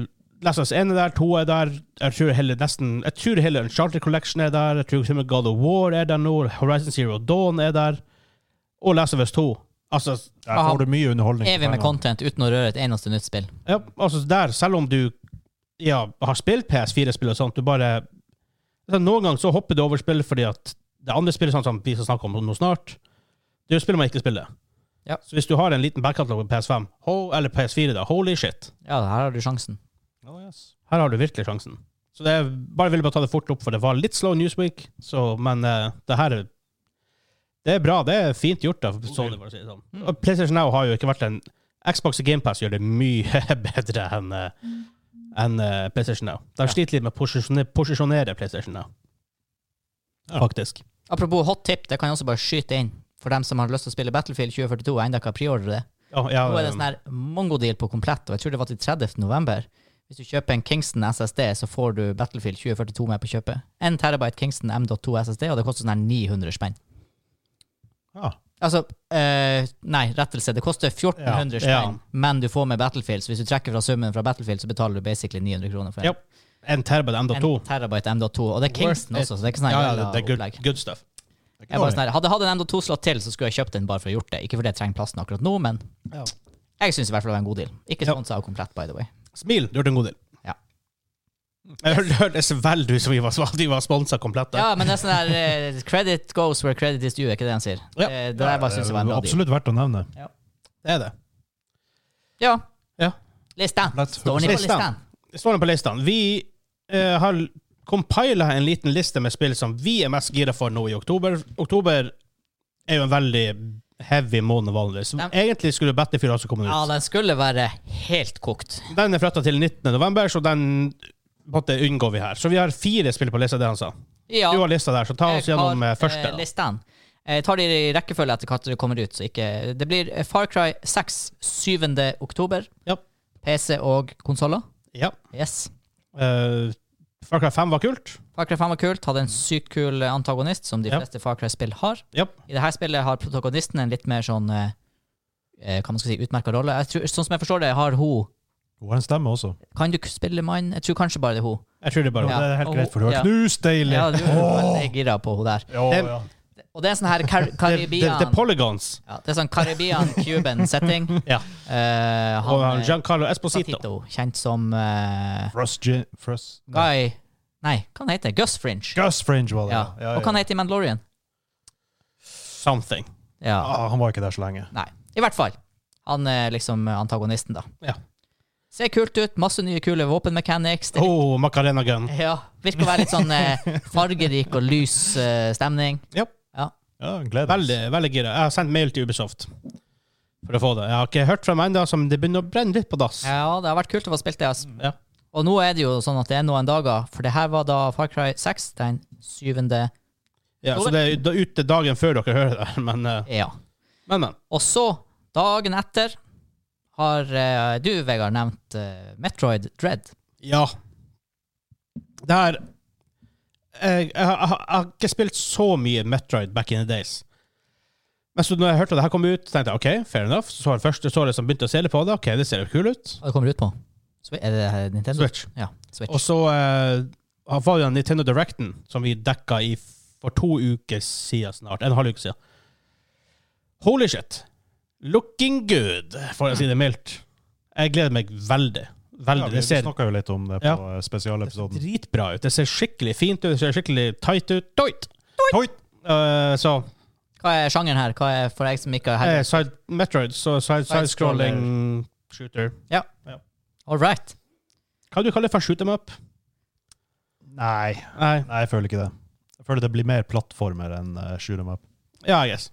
Last of Us 1 er der, 2 er der, jeg tror hele, nesten, jeg tror hele Uncharted Collection er der, jeg tror til og med God of War er der nå, Horizon Zero Dawn er der, og Last of Us 2. Altså,
Der får du mye underholdning.
evig med content uten å røre et eneste nytt spill.
Ja, altså der, selv om du ja, har spilt PS4-spill og sånt, du bare Så Noen ganger så hopper du over spill fordi at det andre spillet sånn som vi skal snakke om nå snart, det er jo spill man ikke spiller.
Ja.
Så hvis du har en liten backkatalog på PS5, ho- eller PS4, da, holy shit,
Ja, her har du sjansen.
Oh, yes.
her har du virkelig sjansen. Så det er, bare ville bare ta det fort opp, for det var litt slow newsweek, så, men eh, det her er- det er bra, det er fint gjort av Sony, for å si det sånn.
Mm.
Og PlayStation Now har jo ikke vært en Xbox og GamePass gjør det mye <laughs> bedre enn eh, enn, eh, PlayStation Now. De
Ja.
sliter litt med å posisjonere, posisjonere PlayStation Now,
Ja.
faktisk.
Apropos hot tip, det kan jeg også bare skyte inn. For dem som har lyst til å spille Battlefield 2042 og ennå ikke har preordret det.
Ja, ja,
Nå er det sånn her mongodeal på komplett, og jeg tror det var til 30. november. Hvis du kjøper en Kingston SSD, så får du Battlefield 2042 med på kjøpet. 1 terabyte Kingston M.2 SSD, og det koster sånn her 900 spenn.
Ja.
Altså, eh, nei, rettelse. Det koster 1400
Ja, ja.
spenn, men du får med Battlefield. Så hvis du trekker fra summen fra Battlefield, så betaler du basically 900 kroner for en,
Ja, en terabyte
en
MD2.
terabyte M.2. Og det er Kingston
it.
også, så det er ikke sånn her
Ja, ja,
jævla
det er good,
opplegg.
good stuff.
Det er ikke
Jeg bare
dårlig.
sånn her, hadde jeg hatt en M.2-slott til, så skulle jeg kjøpt den bare for å ha gjort det. Ikke fordi jeg trenger plassen akkurat nå, men
Ja.
jeg syns i hvert fall det var en god deal. Ikke
Ja.
sponsa av Komplett, by the way.
Smil, du hørte en god del. Mm.
Ja.
Jeg hørte- hørte så veldig ut som vi var, vi var sponsa komplett.
Ja, men det er sånn der eh, Credit goes where credit is due, er ikke det han sier?
Ja.
Eh, det der bare syns jeg var en bra deal.
Absolutt verdt å nevne.
Det er det.
Ja.
Ja.
Listan.
Komplett.
Står ni på
Listan.
listan?
Det står på listene. Vi eh, har compila en liten liste med spill som vi er mest gira for nå i oktober. Oktober er jo en veldig heavy måned vanligvis.
Dem-
Egentlig skulle Battlefield også komme ut.
Ja, den skulle være helt kokt.
Den er flytta til 19. november, så den måtte unngår vi her. Så vi har fire spill på lista, det han sa.
Ja.
Du har lista der, så ta oss
Jeg har,
gjennom eh, første.
eh, listene. Jeg tar de i rekkefølge etter når det kommer ut. Så ikke, det blir eh, Far Cry 6 7. oktober.
Ja.
PC og konsoller.
Ja.
Yes.
Eh, Far Cry 5 var kult.
Far Cry 5 var kult. Hadde en sykt kul eh, antagonist, som de
Ja.
fleste Far Cry-spill har.
Ja.
I dette spillet har protagonisten en litt mer sånn eh, eh, hva man skal si, utmerka rolle. Jeg tror, sånn som jeg forstår det, har hun
Hun har en stemme også.
Kan du k- spille mann? Jeg tror kanskje bare det er hun.
Jeg tror det bare
Ja,
var
det er helt
og
greit, for du har
ja.
knust deilig!
Ja, du er
Åh!
veldig gira på hun der.
Ja,
Det-
ja.
Og det er sånn her kar
det. Det
Caribbean
det er Polygons
ja, Det er sånn Caribbean-Cuban-setting.
Ja.
Eh, han,
og
eh,
Giancarlo Esposito.
Esposito, kjent som eh,
Frust, Gi- Frust nei.
Guy Nei, hva han heter han? Gus Fringe.
Gus Fringe var det.
Ja.
Ja, ja,
Og hva han
ja.
heter i Mandalorian?
Something.
Ja.
Ah, han var ikke der så lenge.
Nei. I hvert fall. Han er liksom antagonisten, da.
Ja.
Ser kult ut. Masse nye kule våpenmechanics. Det,
Oh, Macarena Gun.
ja, virker å være litt sånn <laughs> eh, fargerik og lys eh, stemning.
Ja, gleder oss.
Veldig, veldig gira. Jeg har sendt mail til Ubisoft for å få det. Jeg har ikke hørt fra dem ennå, som det begynner å brenne litt på dass.
Ja, det har vært kult å få spilt det. ass.
Ja.
Og nå er det jo sånn at det er noen dager, for det her var da Far Cry 6 den syvende
Ja, så det er da- ute dagen før dere hører det. <laughs> Men, eh,
Ja.
men, men.
E Og så, dagen etter, har eh, du, Vegard, nevnt eh, Metroid Dread.
Ja. Det her jeg, jeg, har- jeg, har- jeg har ikke spilt så mye Metroid back in the days. Men så når jeg hørte at det her kom ut, tenkte jeg OK, fair enough. Så var det første såret som begynte å sele på det. OK, det ser jo kult ut.
Hva det kommer ut på? Swi- Er det eh, Nintendo?
Switch.
Ja, Switch.
Og så eh, var jo den Nintendo Directen, som vi dekka i for to uker siden snart. En halv uke siden. Holy shit. Looking good, for å si det mildt. Jeg gleder meg veldig.
Ja,
Veldig. det
vi vi
ser
snakka jo litt om det på
Ja.
eh, spesialepisoden.
dritbra ut. Det ser skikkelig fint ut. Det ser skikkelig tight ut. Tight! Tight! Eh, så
Hva er sjangeren her? Hva er for deg som ikke har
eh, side, Metroid, så side-
Side-scroller.
side-scrolling shooter.
All right.
Hva du kaller det for shoot them up?
Nei.
Nei.
Nei, jeg føler ikke det. Jeg føler det blir mer plattformer enn uh, shoot 'em up.
Ja, I guess.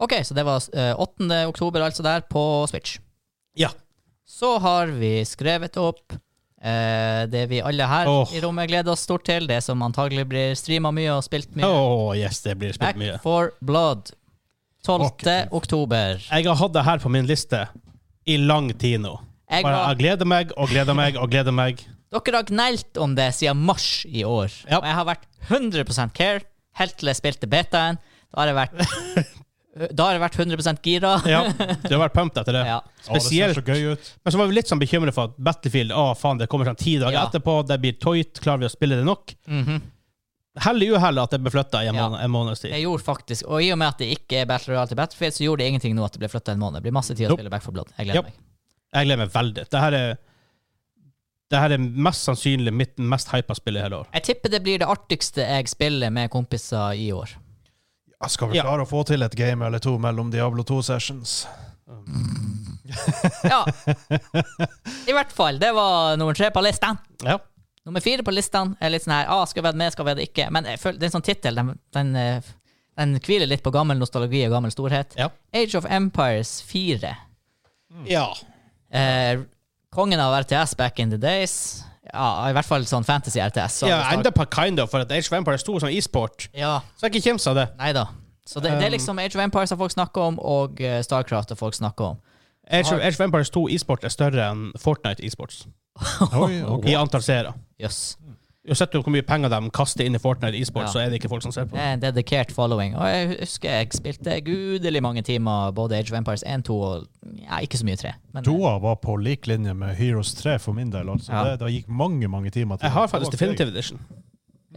Ok, så det var eh, 8. oktober, altså der, på Switch.
Ja.
Så har vi skrevet opp eh, det vi alle her
Åh.
i rommet gleder oss stort til, det som antagelig blir streama mye og spilt mye.
Oh, yes, det blir
Back
spilt mye.
for blood. 12.
Ok.
oktober.
Jeg har hatt det her på min liste i lang tid nå.
Jeg
Bare
var,
jeg gleder meg og gleder meg og gleder meg.
dere har gnelt om det siden mars i år.
Ja.
Og jeg har vært 100 care helt til jeg spilte betaen. Da har jeg
<laughs>
vært, da har jeg vært 100 gira.
Ja, Du har vært pumped etter det.
Ja.
Spesielt.
Spesielt. det ser så gøy ut.
Men så var vi litt sånn bekymret for at Battlefield å faen, det kommer sånn ti dager
Ja.
etterpå, det blir toit, klarer vi å spille det nok?
Mhm.
Hell i uhell at det ble flytta i en,
Ja.
måned, en måneds tid.
Det gjorde faktisk, Og i og med at det ikke er Battle Royale til Battlefield, så gjorde det ingenting nå at det ble flytta en måned. Det blir masse tid å
Nope.
spille Back for blood. Jeg gleder
Yep.
meg.
Jeg gleder meg veldig. Det her er det her er mest sannsynlig mitt mest hypa spill i hele år.
Jeg tipper det blir det artigste jeg spiller med kompiser i år.
Jeg skal
Ja.
vel klare å få til et game eller to mellom Diablo 2-sessions.
<laughs>
Ja. I hvert fall. Det var nummer tre på lista.
Ja.
Nummer fire på listene er litt sånn her ah, Skal vi ha det med, skal vi ha det ikke? Men jeg føler, det er en sånn tittel. Den, den, eh, den hviler litt på gammel nostalgi og gammel storhet.
Ja.
Age of Empires 4.
ja.
Eh, kongen av RTS back in the days. Ja, i hvert fall sånn fantasy-RTS.
ja enda på kind of, for at Age of Empires 2 er sånn e-sport.
ja,
Så jeg ikke kjems av det.
nei da. Så det, det
Um,
er liksom Age of Empires har folk snakker om, og eh, Starcraft har folk snakker om.
Age of, Age of Empires 2 e-sport er større enn Fortnite e-sports
<laughs> Oi, ok.
i antall seere.
Jøss.
Mm.
Uansett hvor mye penger de kaster inn i Fortnite e-sport,
Ja.
så er det ikke folk som ser på.
Det er en dedikert following. Og jeg husker jeg spilte gudelig mange timer både Age of Empires 1, 2 og ja, ikke så mye 3. Men,
Toa var på lik linje med Heroes 3 for min del. altså.
Ja.
Det, det gikk mange mange timer til.
Jeg har
Det var
faktisk Definitive Edition.
eh,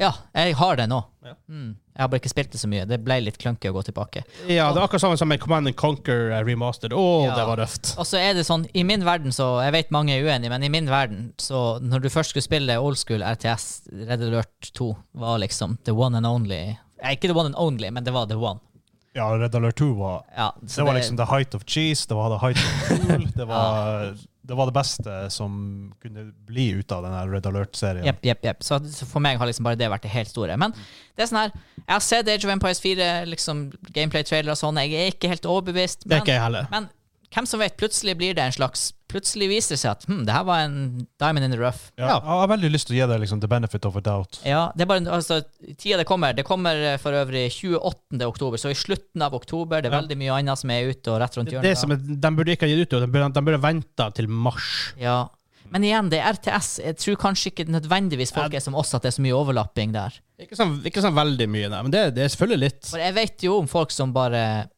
Ja, jeg har det nå.
Ja.
Mm. Jeg har bare ikke spilt det så mye. Det ble litt clunky å gå tilbake.
Ja, det er akkurat samme som med Command and Conquer eh, remastered. Å,
Ja.
det var røft.
Og så er det sånn, i min verden så Jeg vet mange er uenige, men i min verden så Når du først skulle spille old school RTS, Red Alert 2 var liksom the one and only. Eh, ikke the one and only, men det var the one.
greit. Ja, Red Alert 2 var
Ja,
det var liksom the height of cheese, det var the height of cool. Det var, det var det beste som kunne bli ut av den her Red Alert-serien.
Jepp, jepp, jepp. Så så for meg har liksom bare det vært det helt store. Men det er sånn her, jeg har sett Age of Empires 4, liksom gameplay-trailer og sånn, jeg er ikke helt overbevist.
Det er
Men,
ikke jeg heller.
men hvem som vet, plutselig blir det en slags Plutselig viser det seg at hm, det her var en diamond in the rough.
Ja. Jeg har veldig lyst til å gi deg liksom the benefit of a doubt.
Ja, det er bare, altså, tida det kommer. Det kommer eh, for øvrig 28. oktober, så i slutten av oktober. Det er
Ja.
veldig mye annet som er ute og rett rundt
Det, er det som
hjørnet.
er, de burde ikke ha gitt ut, og de burde, de burde venta til mars.
Ja. Men igjen, det er RTS. Jeg tror kanskje ikke nødvendigvis folk er som oss at det er så mye overlapping der.
Ikke sånn, ikke sånn veldig mye, nei, men det, det er selvfølgelig litt.
For jeg vet jo om folk som bare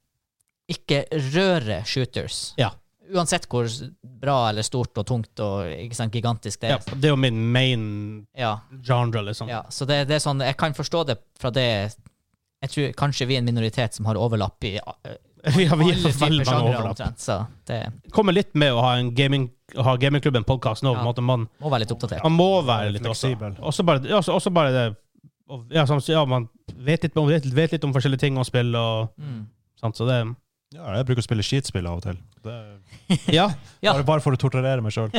ikke rører shooters.
Ja.
Uansett hvor bra eller stort og tungt og ikke sant, gigantisk det
Ja,
er.
det er jo min main
Ja.
genre, liksom.
ja. Så det, det er sånn, jeg kan forstå det fra det Jeg tror kanskje vi er en minoritet som har overlapp i eh,
<laughs> Vi har, vi har
alle typer
veldig mange
sjangre
overlapp.
omtrent. Så det
Kommer litt med å ha en gaming, å ha gamingklubben podcast nå, på en
Ja.
måte. Man,
må være litt oppdatert.
man må være litt også.
Fleksibel.
Også bare, ja, også, også bare det og- ja, som, ja, man vet litt, om- vet, vet litt om forskjellige ting og spill og
Mm.
sånt, så det
Ja, jeg bruker å spille skitspill av og til.
<laughs>
Det,
Ja.
Ja.
bare, bare for å torturere meg sjøl.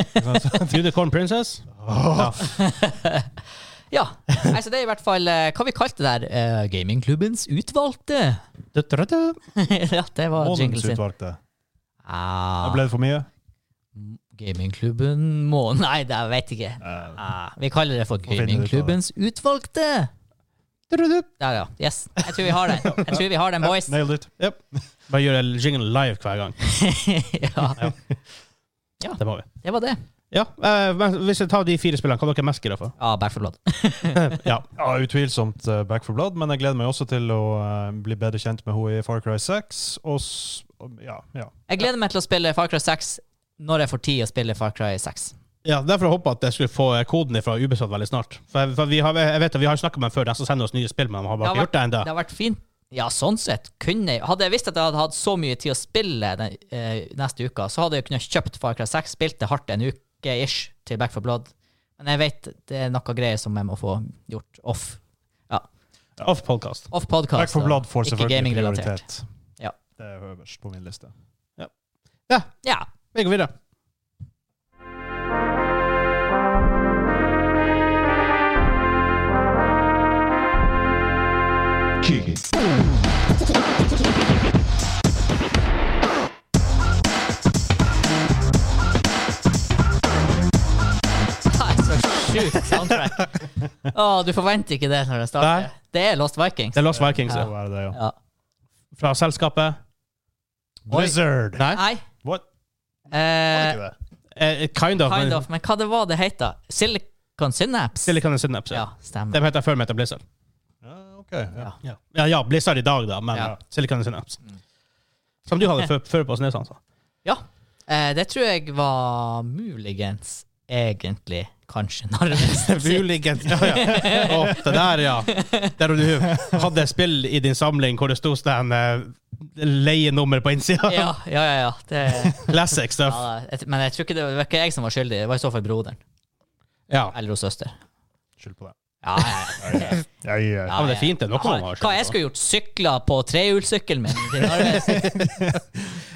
Unicorn Princess? Ja.
Ja. Nei, så det er i hvert fall eh, hva vi kalte det der eh, Gamingklubbens utvalgte. <laughs>
Du-du-du-du.
ja, det var jinglen
Månedens
sin.
utvalgte. Da
Ah,
ble det for mye?
gamingklubben må Nei, det jeg vet ikke.
Eh,
Ah, vi kaller det for
finne ut av det.
Gamingklubbens utvalgte. Der, ja. Yes. Jeg tror vi har den. Jeg tror vi har den,
<laughs>
boys.
Nailed it.
Bare gjør en jingle live hver gang.
<laughs> ja,
Det må vi.
det var det.
Ja, eh, men Hvis jeg tar de fire spillene, hva dere mest gira for?
Ja, Back for blood.
ja.
Ja, Utvilsomt eh, Back for Blood, men jeg gleder meg også til å eh, bli bedre kjent med henne i Far Cry 6. Og s ja, ja.
Jeg gleder meg til å spille Far Cry 6 når jeg får tid å spille Far Cry 6.
ja, Derfor håper jeg at jeg skulle få eh, koden fra Ubisoft veldig snart. For, for vi har, jeg vet at vi har snakka med dem før, de som sender oss nye spill, men de har bare
Det har
ikke gjort det ennå.
Det har vært fint. Ja, sånn sett kunne jeg Hadde jeg visst at jeg hadde hatt så mye tid å spille den, eh, neste uke, så hadde jeg kunnet kjøpt Far Cry 6, spilt det hardt en uke ish til Back for blood. Men jeg vet det er noe greier som jeg må få gjort off.
Off podcast.
Off podcast.
Back for
og
Blood får
ikke
selvfølgelig
gaming-relatert.
prioritet.
Ja.
Det er øverst på min liste.
Ja.
Vi går videre.
Nei, så sjukt soundtrack. Å, du forventer ikke det når det starter.
Nei.
Det er Lost Vikings.
Det er Lost Vikings.
Det
ja.
må være det, ja.
Ja.
Fra selskapet
Blizzard!
Nei?
Nei.
What? Var det
Eh,
ikke det?
Eh, kind of.
kind
men-
of. Men hva det var det het, da? Silicon Synapse?
Silicon and Synapse. Ja.
Ja, stemmer.
De heter før Meta Blizzard.
Ja, ok. Ja.
Ja.
Ja. ja, ja, Blizzard i dag, da, men
Ja. Mm.
Silicon and Synapse. Som du hadde før, før på altså. Snesansa.
Eh, det tror jeg var muligens egentlig kanskje
<laughs>
Narvesen sin.
Muligens. Ja, ja. Å, det der, ja. Der du hadde et spill i din samling hvor det sto sånn eh, leienummer på innsida.
Ja, ja, ja. ja. Det,
<laughs> Classic stuff. <laughs>
ja jeg- men jeg tror ikke det var, det var ikke jeg som var skyldig, det var i så fall broderen.
Ja.
Eller hos søster.
Skyld på det. eh,
Ja, ja, ja.
<laughs> ja, men det er fint. Det er noe
Hva,
man har
hva jeg skulle gjort? Sykla på trehjulssykkelen min? til Narvesen?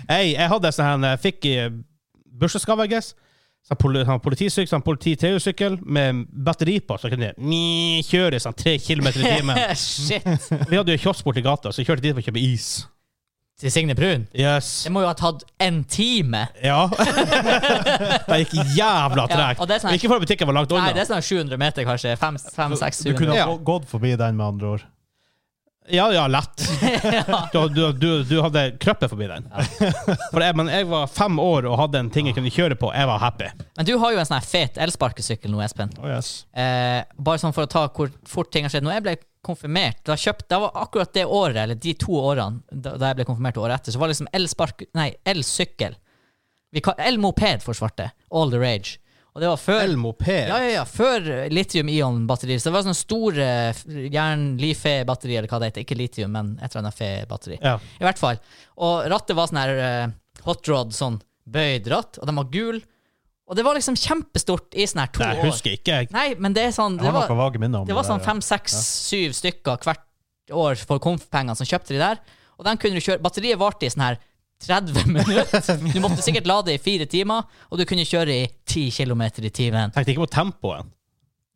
Hey, jeg hadde sånn her, jeg fikk i bursdagsgave, I guess. Sånn poli- sånn politisykkel, sånn politi-trehjulssykkel med batteri på, så kunne jeg ni- kjøre i sånn tre kilometer i timen.
<laughs> Shit!
Vi hadde jo kiosk borti gata, så jeg kjørte dit for å kjøpe is.
Til Signe Brun?
Yes.
Det må jo ha tatt en time!
Ja. <laughs> det gikk jævla
Ja,
tregt.
og det er sånn-
Ikke fordi butikken var langt
Nei,
unna.
det er sånn 700 meter, kanskje.
Du kunne
500-600.
ha
Ja.
gå- gått forbi den, med andre ord.
Ja, ja,
<laughs>
lett. Du, du, du, du hadde krøpet forbi den. <laughs> For jeg, men jeg var fem år og hadde en ting jeg kunne kjøre på. Jeg var happy.
Men du har jo en sånn her fet elsparkesykkel nå, Espen.
Oh, yes.
Eh, bare sånn for å ta hvor fort ting har skjedd. Når jeg ble konfirmert, da kjøpte, det var akkurat det året, eller de to årene da, da jeg ble konfirmert og året etter, så var det liksom elspark... Nei, elsykkel. Vi kal- Elmoped for svarte. All the rage. Og det var før
Elmoped.
Ja, ja, ja. Før litium-ion-batterier. Så det var sånne store f- jern fe-batteri, eller hva det heter. Ikke litium, men et eller annet fe-batteri.
Ja.
I hvert fall. Og rattet var sånn her eh, hot rod, sånn bøyd ratt, og den var gul. Og det var liksom kjempestort i sånn her to
Nei, jeg
år.
husker ikke. Jeg-
Nei, men det er sånn
Jeg
Det
har
var,
noen vage minner om
det var sånn fem, seks, syv stykker hvert år for konf-pengene som kjøpte de der. Og den kunne du kjøre Batteriet varte i sånn her 30 <laughs> minutter. Du måtte sikkert lade i fire timer, og du kunne kjøre i 10 km i timen.
Tenkte ikke på tempoen.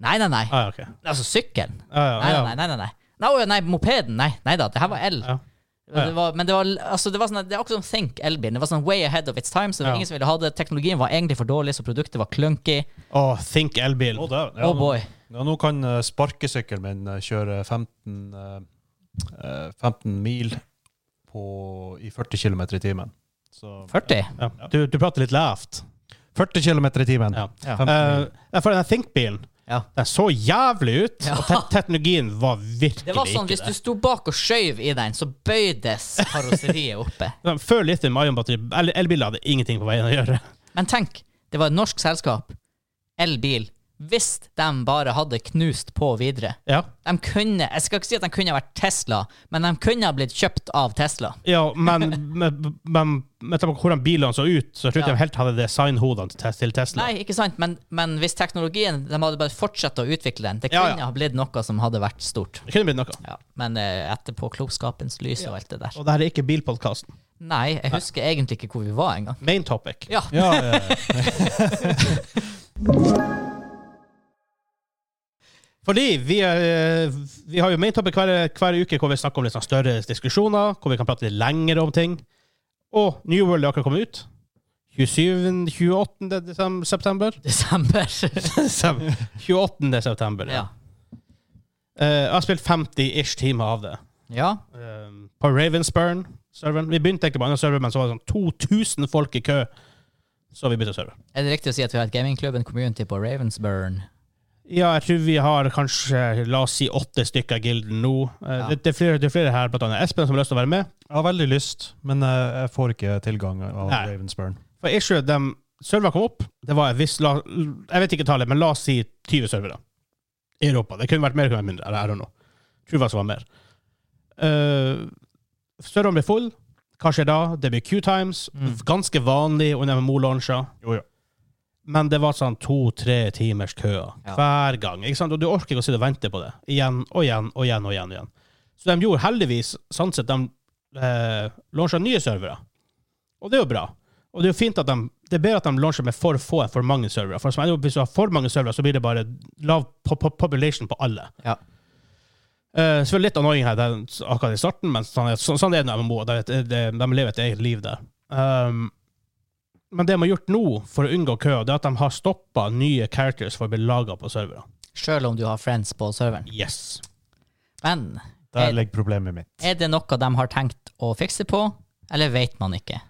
Nei, nei, nei.
Ah, ja, ok.
Altså sykkelen?
Ah, ja,
Nei,
ja.
nei, nei. nei, nei. Nei, å, nei, mopeden. Nei, nei da, det her var el.
Ja. Ja.
Det var, men det var, altså, det var sånn, det er akkurat som Think elbilen. Det var sånn way ahead of its time. Så det var
Ja.
ingen som ville ha det. Teknologien var egentlig for dårlig, så produktet var clunky.
Åh, think elbil.
Å, dæven.
oh
nå-
boy.
Ja, nå kan eh, sparkesykkelen min eh, kjøre 15, eh, eh, 15 mil på, i 40 km i timen. Så
40?
Ja. Du, du prater litt lavt.
40 km i timen!
Ja.
Ja.
<laughs>
15 mil.
Eh, for den Think-bilen,
Ja.
den så jævlig ut,
Ja.
og te teknologien var virkelig
Det var sånn,
ikke
Hvis du
det.
sto bak og skjøv i den, så bøydes
<laughs>
karosseriet oppe.
Den- Før lithium ion-batteri, el elbiler hadde ingenting på veien å gjøre.
Men tenk, det var et norsk selskap, elbil, hvis de bare hadde knust på videre.
Ja,
De kunne, Jeg skal ikke si at de kunne ha vært Tesla, men de kunne ha blitt kjøpt av Tesla.
ja men, men, men med tanke på hvordan bilene så ut, så tror jeg
Ja.
de helt hadde designhodene til Tes- til Tesla.
Nei, ikke sant, men, men hvis teknologien De hadde bare fortsatt å utvikle den. Det
Ja,
kunne
ja.
ha blitt noe som hadde vært stort.
Det kunne blitt noe.
Ja, Men eh, etterpå klokskapens lys og alt det der.
Og det her er ikke bilpodkasten.
Nei, jeg husker egentlig ikke hvor vi var engang.
Main topic.
Ja.
Ja, ja, ja.
Fordi vi, er, eh, vi har jo main topic hver, hver uke hvor vi snakker om litt sånn større diskusjoner, hvor vi kan prate litt lenger om ting. Og New World er akkurat kommet ut. 27. 28. desem- september.
<laughs>
<laughs>
Desember.
Sem- 28. september.
ja.
Ja. Eh, jeg har spilt 50-ish timer av det.
ja.
Eh, på Ravensburn. Serveren. Vi begynte ikke på andre server, men så var det sånn 2000 folk i kø. Så vi bytta server.
Er det riktig å si at vi har et gamingklubb, en community på Ravensburn?
Ja, jeg tror vi har kanskje la oss si åtte stykker i gilden nå. Eh,
Ja.
det, det, er flere, det er flere her, blant annet Espen, som har lyst til å være med.
Jeg har veldig lyst, men eh, jeg får ikke tilgang av
Nei.
Ravensburn.
For issue, de serverne kom opp. Det var en viss la, Jeg vet ikke tallet, men la oss si 20 servere i Europa. Det kunne vært mer, det kunne vært mindre. Eller, I don't know. Tror det var som var mer. Uh, serverne ble full. Hva skjer da? Det blir queue times.
Mm.
Ganske vanlig under MMO-launcher.
Jo, ja.
Men det var sånn to-tre timers køer
Ja.
hver gang. ikke sant? Og du orker ikke å sitte og vente på det. Igjen og igjen og igjen. og igjen, og igjen. Så de gjorde heldigvis sånn sett de eh, launcha nye servere. Og det er jo bra. Og det er jo fint at de, det er bedre at de launcher med for få enn for mange servere. For som jeg, hvis du har for mange servere, så blir det bare lav po po population på alle.
Ja.
Eh, så det er litt annoying her der, akkurat i starten, men sånn, er- sånn, sånn er det med MMO. Det, er et- det, de lever et eget liv der. Um, men det de har gjort nå for å unngå kø, det er at de har stoppa nye characters for å bli laga på servere.
Sjøl om du har friends på serveren.
Yes.
Men
Der
Eh,
ligger problemet mitt.
er det noe de har tenkt å fikse på, eller vet man ikke?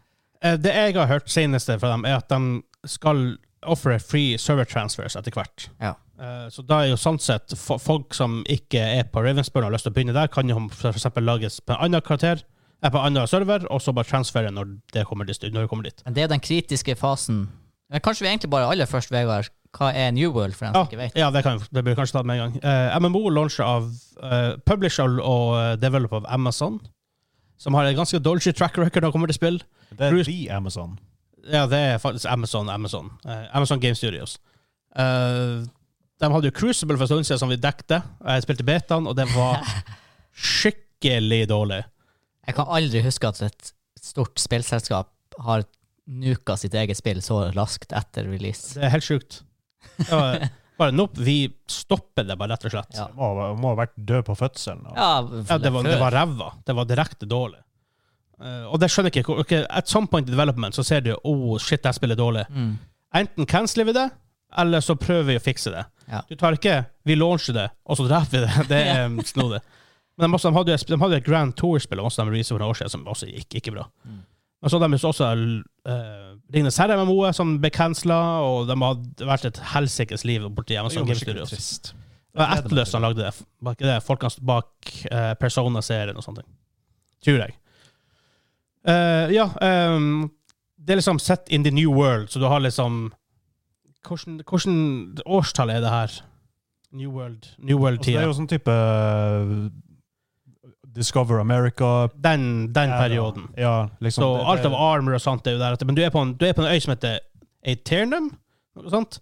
Eh, Det jeg har hørt seneste fra dem, er at de skal ofre free server transfers etter hvert.
Ja.
Eh, Så da er jo sånn sett fo- folk som ikke er på Ravensburn og har lyst til å begynne der, kan jo f.eks. lages på en annen karakter, eh, på en annen server, og så bare transfere når det kommer dit. Når det kommer dit.
Men det er den kritiske fasen. Men kanskje vi egentlig bare aller først, Vegard, hva er New World, for den
Ja,
som ikke vet?
ja, det, kan, det blir kanskje tatt med en gang. Eh, MMO launcher av uh, publisher og eh, developer av Amazon, som har en ganske dodgy track record når det kommer til spill.
Det er
Bruce-
de Amazon.
Ja, det er faktisk Amazon. Amazon, Eh, Amazon Game Studios. Eh, De hadde jo Crucible for en stund siden, som vi dekte. Jeg spilte betaen, og den var skikkelig dårlig.
Jeg kan aldri huske at et stort spillselskap har nuka sitt eget spill så raskt etter release.
Det er helt sjukt. Det var Bare nope, vi stopper det bare, rett og slett.
Ja,
Må, ha- må ha vært død på fødselen. og-
ja,
Ja, det var, det var ræva. Det var direkte dårlig. Eh, og det skjønner jeg ikke. hvor- ok, at some point in development så ser du oh shit, det her spillet er dårlig.
Mm.
Enten canceler vi det, eller så prøver vi å fikse det.
Ja.
Du tar ikke 'vi launcher det, og så dreper vi det'. <laughs> Det er um, snodig. Men de, også, de hadde jo et sp- de hadde jo et Grand Tour-spill også, de releaset for noen år siden, som også gikk ikke bra.
Mm.
Men så hadde de også uh, Ringnes Herre-MMO-et som ble cancela, og de hadde vært et helsikes liv borti
Det er jo
Amazon Game
skikkelig
Studios.
trist.
Det var Atlus som lagde det. Var ikke det folkene bak eh, Persona-serien og sånne ting? Tror jeg. Eh, ja, ehm, det er liksom set in the new world, så du har liksom Hvordan, hvordan årstall er det her? New World New
Altså, det
World-tida.
er jo sånn type uh, Discover America.
Den, den perioden.
Ja, liksom.
Så
det-
alt
det-
av armor og sånt er jo deretter. Men du er på en, du er på en øy som heter Aeternum, noe sånt.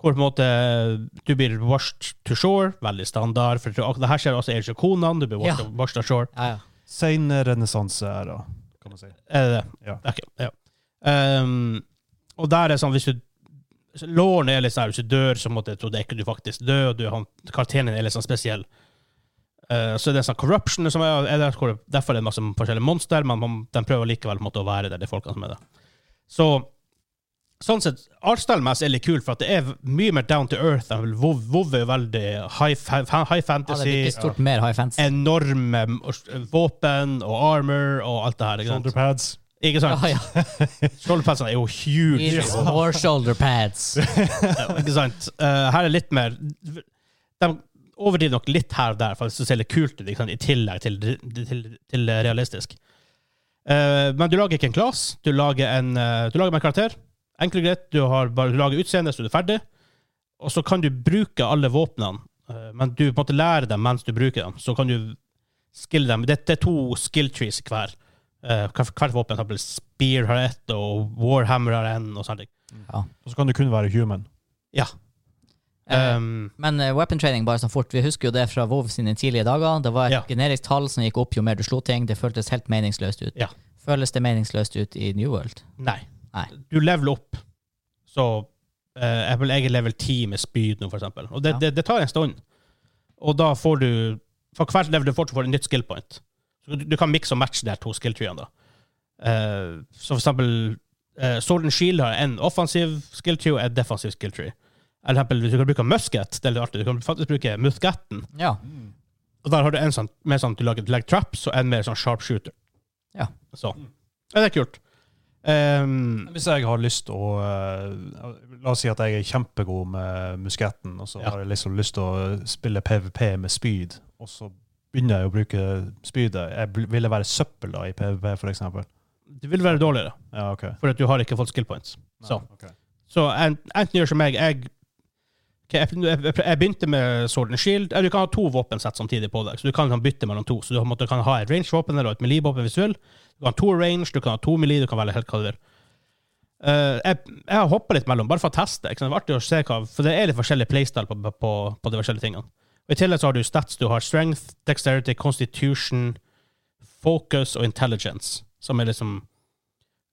Hvor på en måte du blir washed to shore, veldig standard. For det her skjer også i Age of Conan, du blir washed,
Ja.
washed to shore.
Ja, ja.
Sen renessanse er da, kan man si.
Er det det?
Ja.
Ok, ja. Ehm, og der er sånn, hvis du Låren er litt sånn, hvis du dør, så måtte jeg tro det er ikke du faktisk dør, og du, han, karakteren din er litt sånn spesiell. Eh, så er det en sånn corruption som er, er der, hvor det- derfor er det masse forskjellige monster, men man, de prøver likevel på en måte å være der, de folkene som er der. Så sånn sett, artstyle-messig er litt kult, for at det er mye mer down to earth. enn WoW WoW er jo veldig high, fa- fa- high
ja det blir
fantasy,
ikke stort mer high fancy.
enorme eh, våpen og armor og alt det her. Ikke sant?
Shoulder pads.
Ikke sant?
Ja, ja.
Skjoldpelsene er jo huge.
It's more shoulder pads.
ikke sant? Eh, her er litt mer De overdriver nok litt her og der, for det ser litt kult ut, ikke sant? i tillegg til, til, til realistisk. Eh, men du lager ikke en class. Du lager, en, eh, du lager bare en karakter. Enkelt og greit. Du, har bare, du lager utseende, så er du ferdig. Og så kan du bruke alle våpnene, eh, men du på en måte lærer dem mens du bruker dem. Så kan du skille dem. Det, det er to skill trees hver. Eh, hver- hvert våpen, for eksempel Spear har ett, og Warhammer har en, og sånne ting.
Og så kan du kun være human.
Eh,
<laughs> Um,
Men eh, weapon training, bare sånn fort, vi husker jo det fra WoW sine tidlige dager. Det var et
Ja.
generisk tall som gikk opp jo mer du slo ting. Det føltes helt meningsløst ut.
Ja.
Føles det meningsløst ut i New World?
Nei.
Nei.
Du leveler opp. Så eh, jeg vil jeg er level 10 med spyd nå, for eksempel. Og det,
Ja.
det, det tar en stund. Og da får du For hvert level du får, så får du et nytt skill point. Så du, du kan mikse og matche de her to skill treene, da. Eh, så for eksempel eh, Sword and Shield har en offensiv skill tree og en defensiv skill tree. Eller for eksempel, hvis du kan bruke musket. Det er litt artig. Du kan faktisk bruke musketten.
Ja.
Mm. Og der har du en sånn, mer sånn du lager leg traps og en mer sånn sharpshooter.
Ja.
Så. Ja, det er kult. Um,
Hvis jeg har lyst å eh, La oss si at jeg er kjempegod med musketten, og så
Ja.
har jeg liksom lyst til å spille PVP med spyd, og så begynner jeg å bruke spydet. Jeg bl- ville være søppel da i PVP, for eksempel.
Det vil være dårligere,
Ja, OK.
for at du har ikke fått skill points.
Nei,
Så.
ok.
Så en- enten gjør som meg, jeg Ok, jeg, jeg, jeg begynte med Sword and Shield. Eller Du kan ha to våpensett samtidig på deg, så du kan liksom bytte mellom to. Så du på en måte kan ha et range-våpen eller et melee-våpen hvis du vil. Du kan ha to range, du kan ha to melee, du kan velge helt hva du vil. Eh, jeg, jeg har hoppa litt mellom, bare for å teste. Ikke sant? Det var artig å se hva, for det er litt forskjellig playstyle på, på, på de forskjellige tingene. Og I tillegg så har du stats. Du har strength, dexterity, constitution, focus og intelligence, som er liksom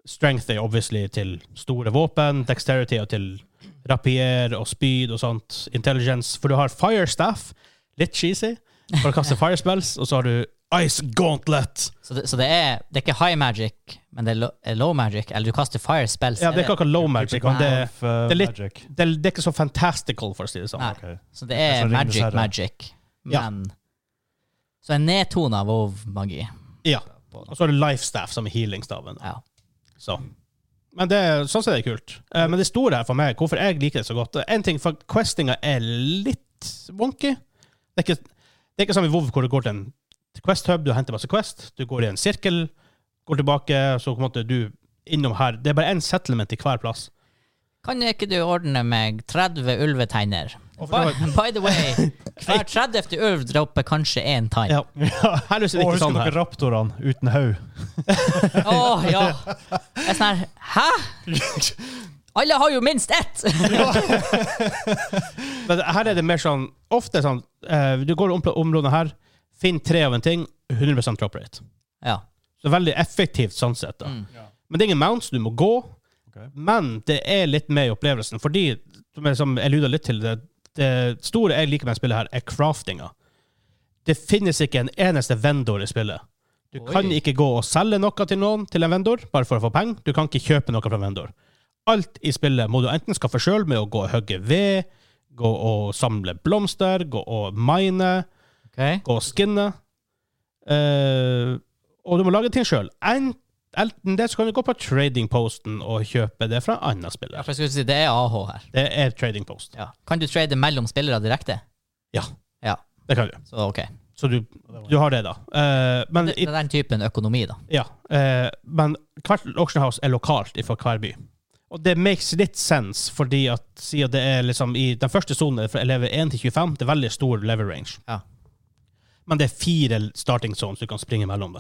Strength er obviously til store våpen, dexterity er til rapier og spyd og sånt. Intelligence. For du har fire staff, litt cheesy, for å kaste fire spells, og så har du ice gauntlet.
Så, det, så det, er, det er ikke high magic, men det er lo- er low magic. Eller du kaster fire spells.
Ja, det er ikke akkurat low magic, men det,
Of, eh,
det er litt-
magic.
det, det er ikke så fantastical, for å si det sånn.
Nei.
Ok.
Så det
Jeg
er
tror Ringenes
magic,
herre.
magic.
Ja.
Men Så en nedtone av WoW-magi.
Ja. Og så har du life staff, som er healing-staven.
Ja.
Så. Mm. Men det, sånn sett er det kult. Eh, men det store her for meg, hvorfor jeg liker det så godt En ting, for questinga er litt wonky. Det er ikke, det er ikke som i WoW, hvor du går til en quest-hub, du henter masse quest, du går i en sirkel, går tilbake, så på en måte du innom her. Det er bare én settlement i hver plass.
Kan ikke du ordne meg 30 ulvetegner?
Og
By,
for det
by the way, hver 30. ulv dropper kanskje én tann.
Ja. <laughs> Her lyser det ikke
Og husker
sånn
dere
her.
raptorene uten haug?
Å, ja. Jeg er sånn her Hæ? Alle har jo minst ett!
Men her er det mer sånn Ofte sånn eh, Du går om på området her, finn tre av en ting, 100 drop rate.
ja.
Så veldig effektivt sånn sett. da.
Mm.
Men det er ingen mounts du må gå.
Ok.
Men det er litt med i opplevelsen, fordi som jeg- som jeg luder litt til det, det store jeg liker med spillet her, er craftinga. Det finnes ikke en eneste vendor i spillet. Du
Oi.
kan ikke gå og selge noe til noen til en vendor, bare for å få penger. Du kan ikke kjøpe noe fra en vendor. Alt i spillet må du enten skaffe sjøl med å gå og hogge ved, gå og samle blomster, gå og mine,
Ok.
gå og skinne. Eh, og du må lage ting sjøl. Enten det, så kan du gå på trading posten og kjøpe det fra andre
Ja,
spillere.
for jeg skulle si, det er AH her.
Det er trading post.
Ja. Kan du trade mellom spillere direkte?
Ja.
Ja,
Det kan du.
så ok.
Så du, du har det, da. Eh, men,
Det, det
i,
er den typen økonomi, da.
ja, eh, men hvert auction house er lokalt fra hver by. Og det makes litt sense, fordi at siden det er liksom i den første sonen fra level 1 til 25, det er veldig stor level range.
Ja.
Men det er fire starting zones du kan springe mellom. da.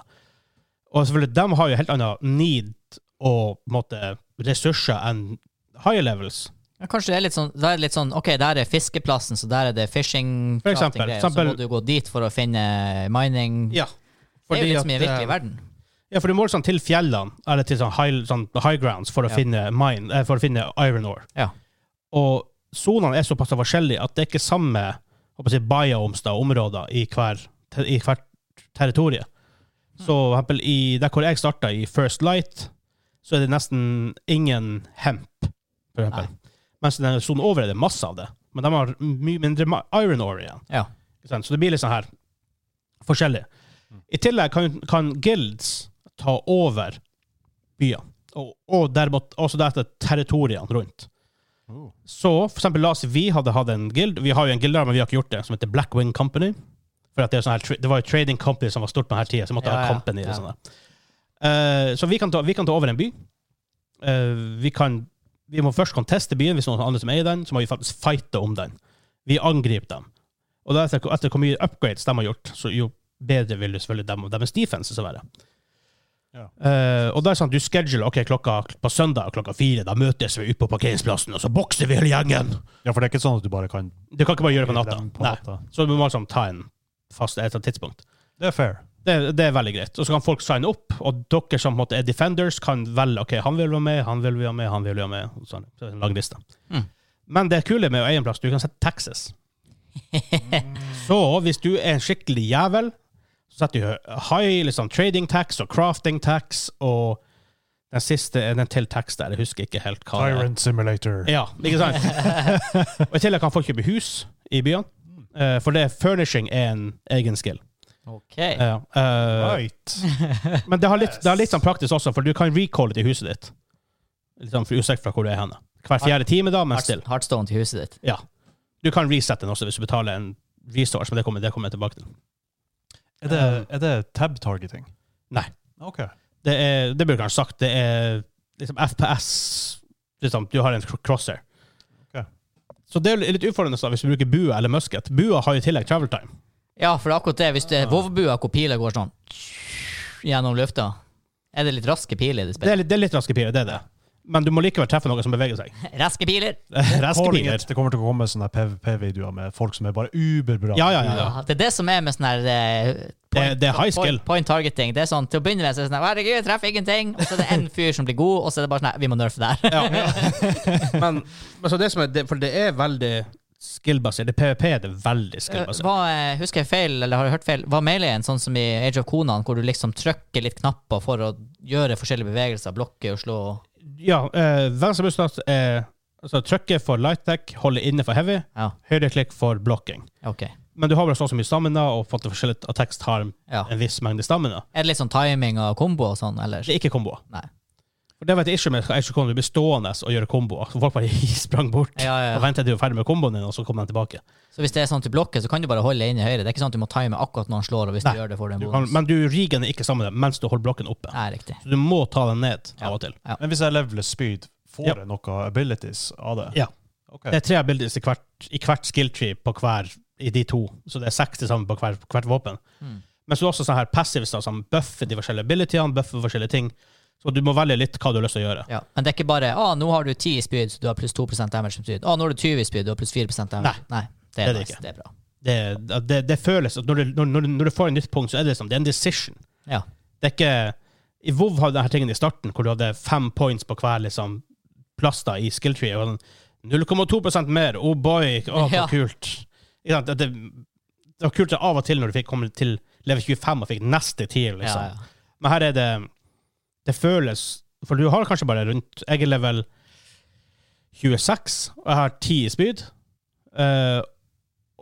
Og selvfølgelig, de har jo helt annen need og på en måte, ressurser enn higher levels.
Ja, kanskje det er litt sånn, det er litt sånn Ok, der er fiskeplassen, så der er det fishing
For eksempel,
crafting-greier,
eksempel-
Så må du gå dit for å finne mining
Ja.
Det er jo litt som i
at,
den
eh,
virkelige verden.
Ja, for du må sånn til fjellene, eller til sånn high, sånn high grounds, for å,
Ja.
finne mine, eh, for å finne iron ore.
Ja.
Og sonene er såpass forskjellige at det er ikke samme håper jeg, å si, biomes da, områder i, hver, te- i hvert territorie.
Mm.
Så for eksempel i, der hvor jeg starta, i First Light, så er det nesten ingen hemp, for eksempel. Mens i den sonen over er det masse av det. Men de har mye mindre ma- iron ore igjen.
Ja.
Ikke sant? Så det blir litt sånn her forskjellig. I tillegg kan, kan guilds ta over byer, og, og derimot også deretter territoriene rundt.
Oh.
Så for eksempel, la oss si vi hadde hatt en guild. Vi har jo en guild der, men vi har ikke gjort det, som heter Black Wing Company. For at det, er sånn her, tra- det var jo trading company som var stort på denne tida, så vi måtte
Ja,
ha
ja,
company.
ja.
Og sånn der. Eh, så vi kan, ta, vi kan ta over en by. Eh, vi, kan, vi må først conteste byen hvis noen andre som eier den, så må vi faktisk fighte om den. Vi angriper dem. Og deretter, etter hvor mye upgrades de har gjort, så jo bedre vil jo selvfølgelig dem, deres defenses være.
Ja.
Eh, og da er det sånn, du scheduler ok, klokka på søndag klokka fire. Da møtes vi ute på parkeringsplassen, og så bokser vi hele gjengen!
Ja, for det er ikke sånn at du bare kan
Du kan ikke bare gjøre det på natta.
Dem på
Nei.
natta.
Så du må liksom ta en fast et eller annet tidspunkt.
Det er fair.
Det, det er veldig greit. Og så kan folk signe opp, og dere som på en måte er defenders, kan velge ok, han vil være med, han vil være med, han vil være med. og Sånn. Så det er en lang liste.
Mm.
Men det kule med å eie en plass, du kan sette taxes. så hvis du er en skikkelig jævel, så setter du high liksom, trading tax og crafting tax, og den siste er den til tax der, jeg husker ikke helt hva det er.
Tyrant Simulator.
Ja, ikke sant? og i tillegg kan folk kjøpe hus i byene. eh, for det furnishing er en egen skill.
<laughs> Ok.
Ja, eh,
Right.
Men det har litt, det har litt sånn praktisk også, for du kan recalle til huset ditt. Litt sånn Usikkert fra hvor du er henne. Hver fjerde time, da, men still.
Hard- Hardstone til huset ditt.
Ja. Du kan resette den også hvis du betaler en resource, men det kommer, det kommer jeg tilbake til.
Er det, er det tab targeting?
Nei.
Eh, OK.
Det, er, det burde jeg kanskje sagt. Det er liksom FPS liksom, Du har en cr- crosshair.
Ok.
Så det er litt utfordrende da, hvis du bruker bua eller musket. Bua har jo i tillegg travel time.
Ja, for det er akkurat det. Hvis du
Ah.
er Vovbua hvor pila går sånn gjennom lufta, er det litt raske piler i det
Det
spillet.
er, litt- det er litt raske piler, det er det. Men du må likevel treffe noe som beveger seg.
Raske piler!
Raske
Calling
piler.
it. Det kommer til å komme sånne PVP-videoer med folk som er bare uberbra.
Ja, ja, ja. ja.
Ja, det er det som er med sånn her eh,
Det, det er high skill.
Point, point targeting. Det er sånn, Til å begynne med så er det sånn her, Herregud, jeg treffer ingenting. Og så er det en fyr som blir god, og så er det bare sånn her, Vi må nerfe der. <laughs>
Ja. Men altså det som er, det, for det er veldig skillbasert. Det PVP er det veldig skillbasert.
Hva, eh, husker jeg feil, eller har jeg hørt feil? Var maileyen sånn som i Age of Conan, hvor du liksom trykker litt knapper for å gjøre forskjellige bevegelser, blokke og slå?
Ja, eh, venstre bussnatt er altså, trykket for light tech, holde inne for heavy,
Ja,
høyre klikk for blocking.
ok.
Men du har vel så og så mye stamina, og fått det forskjellig at tekst har en
Ja.
en viss mengde stamina.
Er det litt sånn timing og kombo og sånn, eller?
Det er ikke komboer.
Nei.
For det var et issue med Age of Conan, du blir stående og gjøre komboer. Så folk bare <laughs> sprang bort
Ja, ja,
og
ja.
ventet til du var ferdig med komboen din, og så kom den tilbake.
Så hvis det er sånn at du blokker, så kan du bare holde inn i høyre. Det er ikke sånn at du må time akkurat når han slår, og hvis
Nei,
du gjør det, får du en
Du kan,
bonus.
men du rigener ikke sammen med det mens du holder blokken oppe.
Nei, riktig.
Så du må ta den ned av og til.
Men hvis jeg leveler speed, får
Ja.
jeg noe abilities av det?
Ja.
Ok.
Det er tre abilities i hvert, i hvert skill tree på hver i de to, så det er seks til sammen på hver, hvert våpen.
Mm.
Men så er det også sånne her passives da, som buffer de forskjellige abilityene, buffer forskjellige ting. Så du må velge litt hva du har lyst til å gjøre.
Ja. Men det er ikke bare ah, 'nå har du 10 i speed, så du har pluss 2 damage som speed'. Ah, 'Nå har du 20 i speed, du har pluss 4 damage'.
Nei.
det er,
det
nice.
ikke.
Det er bra.
Det, det, det føles at når du, når, når, du- når du får en nytt punkt, så er det liksom, det er en decision.
Ja.
Det er ikke I WoW hadde denne tingen i starten, hvor du hadde fem points på hver liksom, plass da, i skill tree. og sånn, den 0,2 mer. Oh boy, å, så
Ja.
kult. Ikke sant? Det, det var kult av og til når du fikk komme til level 25 og fikk neste tier, liksom.
ja, ja.
Men her er det Det føles For du har kanskje bare rundt Jeg er level 26, og jeg har 10 i spyd. Eh,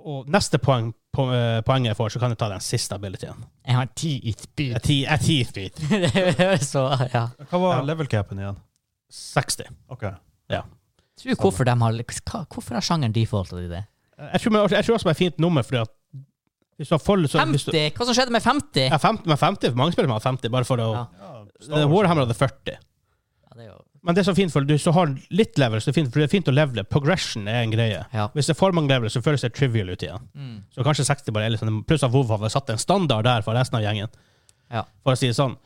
og neste poeng, po eh, poeng jeg får, så kan jeg ta den siste abilityen.
Jeg har 10 i
Jeg <laughs>
speed. <laughs>
er 10 jeg er 10 i spyd.
det høres så Ja.
Hva var
Ja.
level capen igjen?
60.
Ok.
Tror du hvorfor de har hva, Hvorfor har sjangeren defaulta i det?
Jeg tror, jeg tror også det er et fint nummer, fordi at hvis du har fold, så hvis du,
50? Hva som skjedde med 50?
ja, 50, men 50, for mange spiller med 50, bare for å
Ja.
Det er Warhammer hadde 40.
Ja, det er jo
Men det som er fint, for hvis du har litt level, så er det fint, for det er fint å levele. Progression er en greie.
Ja.
Hvis det er for mange level, så føles det trivial ut igjen.
Mm.
Så kanskje 60 bare er litt sånn, pluss at WoW har satt en standard der for resten av gjengen,
Ja.
for å si det sånn.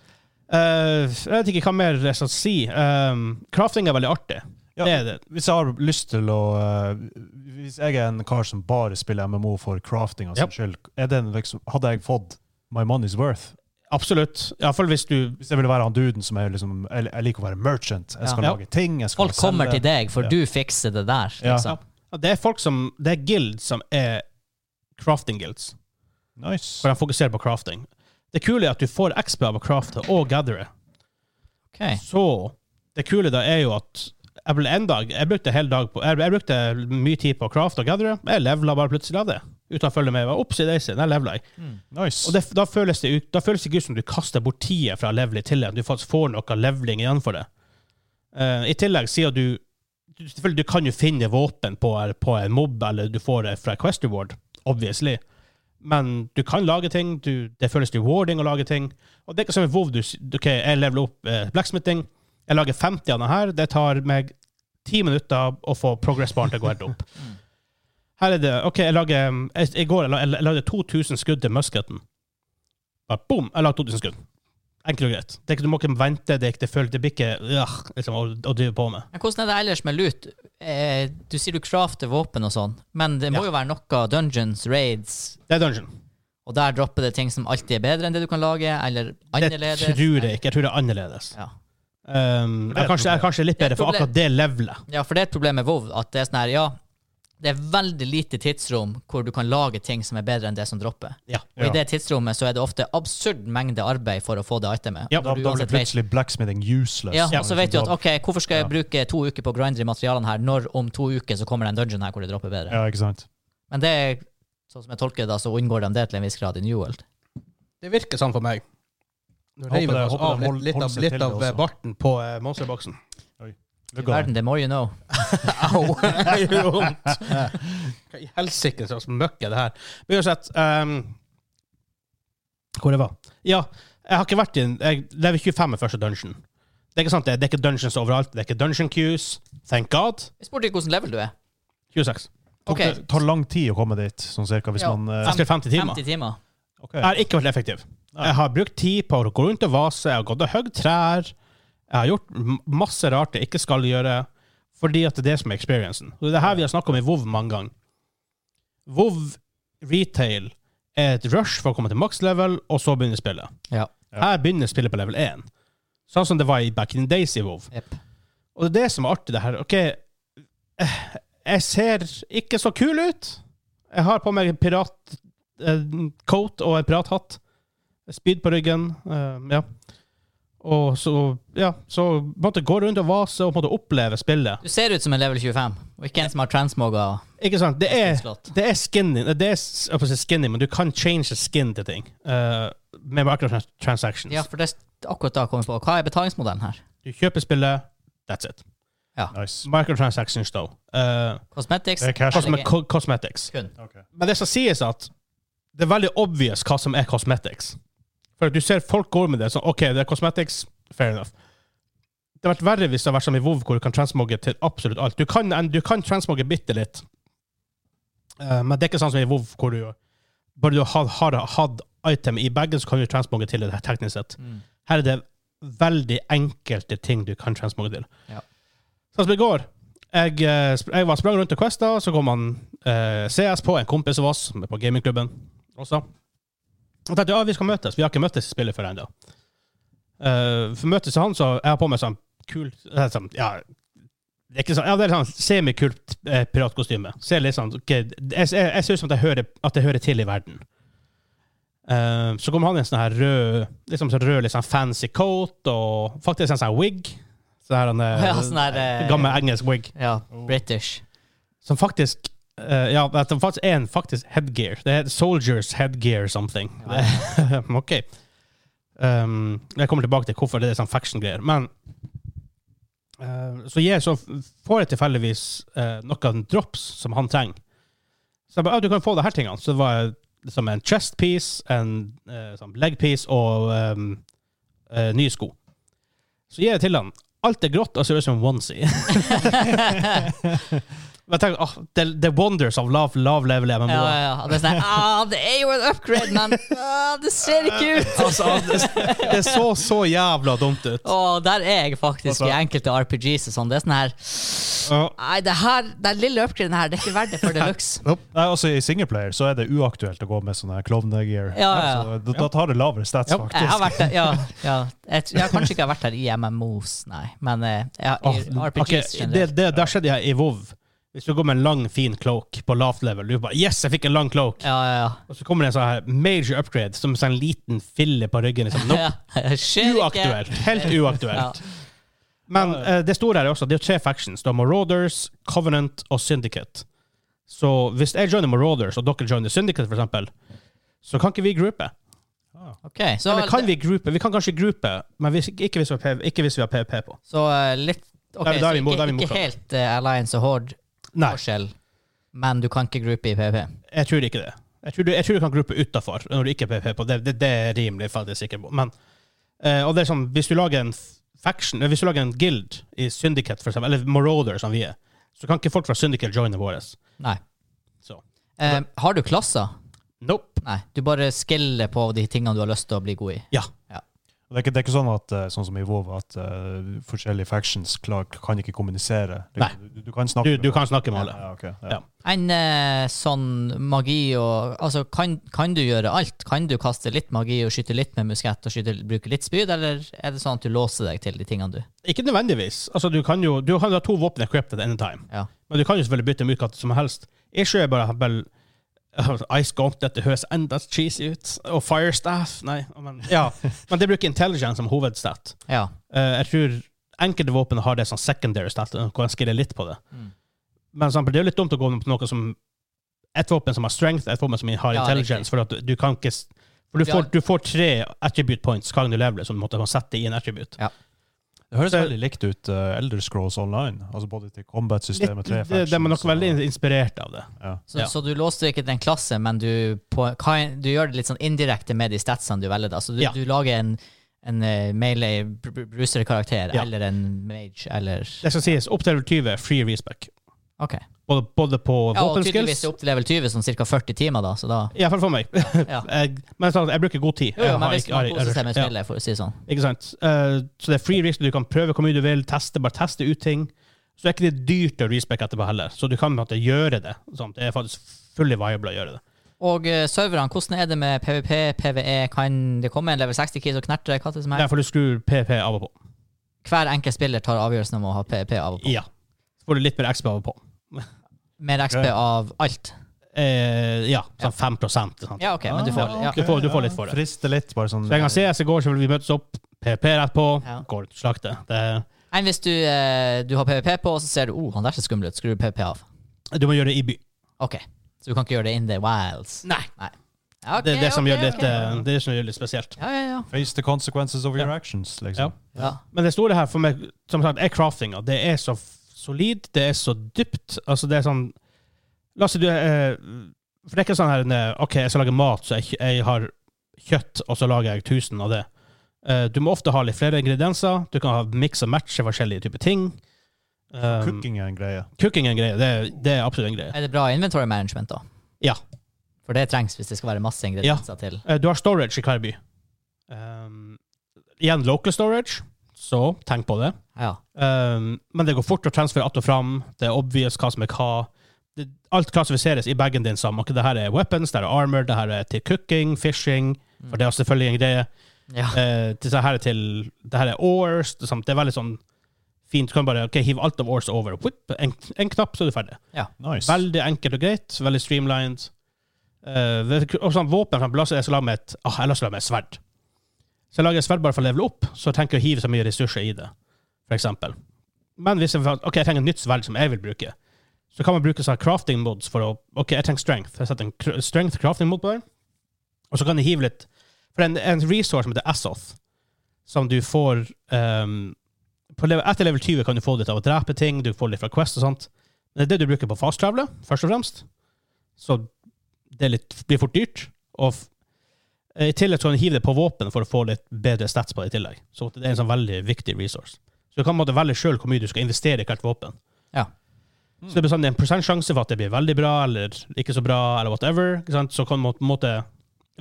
Eh, jeg vet ikke hva mer jeg skal si. Um, crafting er veldig artig.
Ja.
Det er det.
Hvis jeg har lyst til å eh, Hvis jeg er en kar som bare spiller MMO for crafting av sin
Yep.
skyld, er det en liksom, hadde jeg fått my money's worth?
Absolutt. Iallfall hvis du
Hvis jeg ville være han duden som er liksom Jeg, jeg liker å være merchant. Jeg skal
Ja.
lage ting. Jeg skal
Folk kommer til
selge.
deg, for
Ja.
du fikser det der.
Ja.
Liksom.
Ja, Det er folk som Det er guild som er crafting guilds,
Nice.
hvor de fokuserer på crafting. Det kule er at du får XP av å crafte og gathere.
Ok.
Så det kule da er jo at jeg ble en dag Jeg brukte hele dag på Jeg, jeg brukte mye tid på craft og gathere. Jeg levela bare plutselig av det. Uten å følge med. Jeg var Opsi daisy, der levela jeg.
nice.
Og det, da, føles det ut, da føles det ikke ut som du kaster bort tida fra leveling til at du faktisk får noe leveling igjen for det. Eh, I tillegg sier du du- Selvfølgelig du kan jo finne våpen på, eh, på en mobb, eller du får det fra Quest Reward, obviously. Men du kan lage ting. Du, det føles rewarding å lage ting. Og det er ikke som i WoW. Du, s- ok, jeg leveler opp eh, blacksmithing. Jeg lager 50 av den her. Det tar meg 10 minutter å få progress-baren til å gå helt opp. Her er det OK, jeg lager um, jeg, I går jeg, la- jeg lagde 2000 skudd til musketen. Bare boom! Jeg lagde 2000 skudd. Enkelt og greit. Det er ikke, du må ikke vente. Det, er ikke, det, føles, det blir ikke øh, liksom, å, å drive på med.
Men hvordan er det ellers med lut? Eh, du sier du crafter våpen og sånn, men det må
Ja.
jo være noe dungeons, raids,
Det er dungeon.
og der dropper det ting som alltid er bedre enn det du kan lage, eller annerledes.
Det tror jeg ikke. Jeg tror det er annerledes.
Ja.
Um,
det er
jeg, kanskje, jeg er kanskje litt
Det er
bedre for
problem.
akkurat det levelet.
ja, for det er et problem med WoW, at det er sånn her, ja, det er veldig lite tidsrom hvor du kan lage ting som er bedre enn det som dropper.
Ja.
Og i det tidsrommet så er det ofte absurd mengde arbeid for å få det itemet.
Ja,
og
da,
du
da blir
uansett vet-
plutselig blacksmithing useless.
Ja,
Man
og så
liksom
vet du at
drar-
ok, hvorfor skal jeg
Ja.
bruke to uker på å grinde de materialene her, når om to uker så kommer det en dungeon her hvor det dropper bedre.
Ja, ikke sant?
Men det er, sånn som jeg tolker det, da, så unngår de det til en viss grad i New World.
Det virker sånn for meg. Nå
Håper
reiv
det-
jeg oss
håper det
av litt,
hold-
litt
holder
av,
seg
litt
til det
av eh,
også.
barten på eh, monsterboksen.
Det går.
Verden, det må you know.
<laughs> Au! Det gjør vondt. Hva i helsike slags møkk er det her? Men uansett um, Hvor jeg var? Ja, jeg har ikke vært i en Jeg lever 25 i første dungeon. Det er ikke sant, det, det er ikke dungeons overalt. Det er ikke dungeon queues. Thank God.
Jeg spurte ikke hvordan level du er.
26.
Tok
Ok,
det tar lang tid å komme dit, sånn cirka, hvis
Ja.
man eh,
Jeg spiller 50 timer.
50 timer.
ok.
Jeg har ikke vært effektiv.
Nei.
Jeg har brukt tid på å gå rundt og vase, jeg har gått og høgd trær. Jeg har gjort m- masse rart jeg ikke skal gjøre, fordi at det er det som er experiencen. Og Det er her vi har snakka om i WoW mange ganger. WoW retail er et rush for å komme til max level, og så begynner spillet.
Ja.
Ja.
Her begynner spillet på level 1, sånn som det var i Back in the Days i WoW.
Jep.
Og det er det som er artig, det her. OK, eh, jeg ser ikke så kul ut. Jeg har på meg en piratcoat og en pirathatt. Spyd på ryggen. eh, ja. Og så Ja, så måtte gå rundt og vase og måtte oppleve spillet.
Du ser ut som en level 25, og ikke en som har transmoga
Ikke sant? Det er
slått.
det er skinny, det er s- jeg holdt på å si skinny men du kan change skin til ting. eh, med microtransactions.
Ja, for det er akkurat da jeg kommer på. Hva er betalingsmodellen her?
Du kjøper spillet, that's it.
Nice.
Microtransactions, though. Eh,
Cosmetics?
Det er cash.
cosme co cosmetics.
Kun.
Ok.
Men det skal sies at det er veldig obvious hva som er cosmetics. For at du ser folk går med det sånn OK, det er cosmetics, fair enough. Det hadde vært verre hvis det hadde vært som i WoW, hvor du kan transmogge til absolutt alt. Du kan, du kan transmogge bitte litt, Eh, men det er ikke sånn som i WoW, hvor du bare du har, har hatt item i bagen, så kan du transmogge til det her, teknisk sett.
Mm.
Her er det veldig enkelte ting du kan transmogge til.
Ja.
Sånn som i går. Jeg, eh, sp- jeg var sprang rundt og questa, så kom han eh, CS på, en kompis av oss, som er på gamingklubben også. Og tenkte ja, vi skal møtes. Vi har ikke møttes i spillet før ennå. Eh, for møtes han, så jeg har på meg sånn kult eh, sånn, Ja, det er ikke sånn, ja, det er sånn semikult eh, piratkostyme. Ser litt sånn ok, Jeg, jeg, jeg ser ut som at jeg hører, at jeg hører til i verden. Eh, så kom han i en sånn her rød, liksom sånn rød litt sånn fancy coat, og faktisk en sånn wig. Så her, han, eh,
Ja, sånn her, eh,
gammel engelsk wig.
Ja,
Oh.
<laughs>
British.
Som faktisk eh, Ja, at det faktisk er en faktisk headgear. Det heter Soldiers Headgear something. <laughs> OK. Um, jeg kommer tilbake til hvorfor det er sånn faction-greier. Men eh, så, jeg, så får jeg tilfeldigvis eh, noen drops som han trenger. Så jeg bare, ja, du kan få det her tingene. Så det var liksom en chest piece, en eh, sånn leg piece og um, eh, nye sko. Så gir jeg til han. Alt er grått og ser ut som en onesie. <laughs> Men jeg tenker, åh, the, the wonders of love, love level jeg, men
Ja,
<laughs> må-
ja, ja. Det er sånn her, ah, det er jo en upgrade, men ah, det ser ikke
<laughs>
ut!
Altså, det,
Det så så jævla dumt ut.
Og der er jeg faktisk
Altså-
i enkelte RPGs og sånn. Det er sånn her
Ja.
Nei, det her, den lille upgraden her, det er ikke verdt det for deluxe.
Nei, altså I singleplayer så er det uaktuelt å gå med sånne klovnegear.
Ja, ja, ja.
Så eh, Da, da tar det lavere stats,
Ja.
Jeg har
faktisk.
vært der, ja, ja. Jeg, tr- jeg har kanskje ikke vært der i MMOs, nei. Men eh, jeg,
Åh,
i RPGs
ok, det,
generelt.
det, der skjedde jeg i WoW. Hvis du går med en lang, fin cloak på lavt level, du bare Yes, jeg fikk en lang cloak!
Ja, ja, ja.
Og så kommer det en sånn her major upgrade, som en sånn liten fille på ryggen. Liksom. Nope.
Ja, skjer ikke.
Uaktuelt. Helt uaktuelt. Men eh, det store her er også det er tre factions. Du har Marauders, Covenant og Syndicate. Så hvis jeg joiner Marauders, og dere joiner Syndicate, for eksempel, så kan ikke vi groupe.
Ok, så,
Eller kan vi groupe? Vi kan kanskje groupe, men hvis, ikke, hvis vi har P- ikke hvis vi har PVP på.
så eh, litt Ok,
Der- der er
så
vi imot, der er
ikke,
vi imot,
ikke
ja.
helt eh, Alliance og
Nei.
Horde-forskjell, men du kan ikke groupe i PVP.
Jeg tror ikke det. Jeg tror du, jeg tror du kan gruppe utafor når du ikke er PP på. Det, det, det er rimelig faktisk sikker på. Men, eh, og det er sånn, hvis du lager en f- faction, eller hvis du lager en guild i Syndicate, for eksempel, eller Marauder, som vi er, så kan ikke folk fra Syndicate joine våre.
Nei.
Så.
Eh, har du klasser?
Nope.
Nei. Du bare skiller på de tingene du har lyst til å bli god i.
Ja.
Det er, ikke, det er ikke sånn at, eh, sånn som i WoW, at eh, forskjellige factions klar, kan ikke kommunisere. Du,
Nei.
du, du kan
Du,
snakke
du kan snakke med alle.
Ja, ok, ja.
Ja.
En eh, sånn magi og Altså, kan, kan du gjøre alt? Kan du kaste litt magi og skyte litt med muskett og skyte, bruke litt spyd, eller er det sånn at du låser deg til de tingene du
Ikke nødvendigvis. Altså, du kan jo du kan ha to våpen equipped at any time.
Ja.
Men du kan jo selvfølgelig bytte dem ut hva som helst. Ikke bare vel, <laughs> Ice Gaunt, dette høres enda cheesy ut. Og Firestaff, nei. Men, ja. men det bruker intelligence som hovedstat.
Ja.
Eh, jeg tror enkelte våpen har det som secondary stat, hvor jeg skiller litt på det.
Mm.
Men for eksempel, det er jo litt dumt å gå på noe som et våpen som har strength, et våpen som har
Ja,
intelligence,
riktig.
for at du, du kan ikke s- for du,
Ja.
får, du får tre attribute points hver gang du leveler, så du måtte sette i en attribute.
Det høres
Så-
veldig likt ut uh, Elder Scrolls Online, altså både til
Litt,
combat-systemet, tre
det, det er man nok
og-
veldig inspirert av det.
ja.
Så,
Ja.
så du låser ikke til en klasse, men du, på, kan, du gjør det litt sånn indirekte med de statsene du velger. Da. Så du,
Ja.
du lager en, en eh, melee br- br- bruserkarakter
Ja.
eller en mage eller
Det skal sies, opp til level 20 er free respec.
OK.
Både, både på
Ja, og tydeligvis
våpenskills
opp til level 20, sånn ca. 40 timer, da. Så da
I hvert fall for meg.
<laughs> ja.
<laughs> Jeg, men sånn, jeg bruker god tid.
Jo, jo,
Jeg
men
har
hvis
ikke-
man
har-
koser seg med
ja.
spillet, for å si det sånn.
Ikke sant? Eh, så det er free risk, du kan prøve hvor mye du vil, teste, bare teste ut ting. Så er ikke det dyrt å respecte etterpå heller, så du kan på en måte gjøre det. Sånn. Det er faktisk fully viable å gjøre det.
Og eh, serverne, hvordan er det med PVP, PVE? Kan det komme en level 60-kid og knerte hva som helst?
Derfor du skrur PP av og på.
Hver enkelt spiller tar avgjørelsen om å ha PVP av og på.
Ja. Så får du litt mer XP av og på.
Mer XP
Ok.
av alt.
Eh, ja,
Ja.
sånn 5 sant?
Ja, OK, men du får ja.
Du får- du får litt for det.
Frister Ah, litt, bare sånn.
Så en gang CS i går, så ville vi møtes opp, PP rett på,
Ja.
går ut og slakter. Det-
Enn hvis du, eh, du har PVP på, og så ser du oh, han der ser skummel ut, skrur du PVP av.
Du må gjøre det i by.
OK. Så du kan ikke gjøre det in the wilds.
Nei.
Ja, ok,
Det er det som
ok,
gjør det litt,
ok.
eh, det er det som gjør det litt spesielt.
Ja, ja, ja.
Face the consequences of your actions, liksom.
ja.
Men det store her for meg, som sagt, er craftinga. Det er så f- solid, det er så dypt. Altså, det er sånn La oss si du eh, For det er ikke sånn her eh, OK, jeg skal lage mat, så jeg, jeg har kjøtt, og så lager jeg 1000 av det. Eh, du må ofte ha litt flere ingredienser. Du kan ha mix og matche forskjellige typer ting. Um,
Cooking er en greie.
cooking er en greie. Det, er- det er absolutt en greie.
Er det bra inventory management, da?
Ja.
For det trengs hvis det skal være masse ingredienser til.
Eh, Du har storage i hver by. Um, Igjen local storage, så tenk på det.
Ja.
Um, men det går fort å transfere att og fram. Det er obvious hva som er hva. Det, alt klassifiseres i bagen din som ok, det her er weapons, det her er armor, det her er til cooking, fishing For det er selvfølgelig en greie.
ja.
Eh, til, det her er til Det her er oars. Det, er sant, det er veldig sånn fint. Du kan bare ok, hive alt av oars over. og whip, En, en knapp, så er du ferdig.
Nice.
Veldig enkelt og greit. Veldig streamlined. Eh, det- og sånn våpen for eksempel, la oss si jeg skal lage med et ah, jeg la oss lage med et sverd. Så jeg lager et sverd bare for å levele opp, så tenker jeg å hive så mye ressurser i det. For eksempel. Men hvis jeg, ok, jeg trenger et nytt sverd som jeg vil bruke, så kan man bruke sånne crafting mods for å Ok, jeg trenger strength. Jeg setter en cr- strength crafting mod på den, og så kan jeg hive litt For det er en, en resource som heter Assoth, som du får ehm, på level, Etter level 20 kan du få litt av å drepe ting, du får litt fra Quest og sånt. Men det er det du bruker på fast travel, først og fremst. Så det er litt, blir fort dyrt. Og f I tillegg kan du hive det på våpen for å få litt bedre stats på det i tillegg. Så det er en sånn veldig viktig resource. Så du kan på en måte velge sjøl hvor mye du skal investere i hvert våpen.
Ja.
Mm.
Så det er bestandig en prosentsjanse for at det blir veldig bra eller ikke så bra, eller whatever. Ikke sant? Så kan man på en måte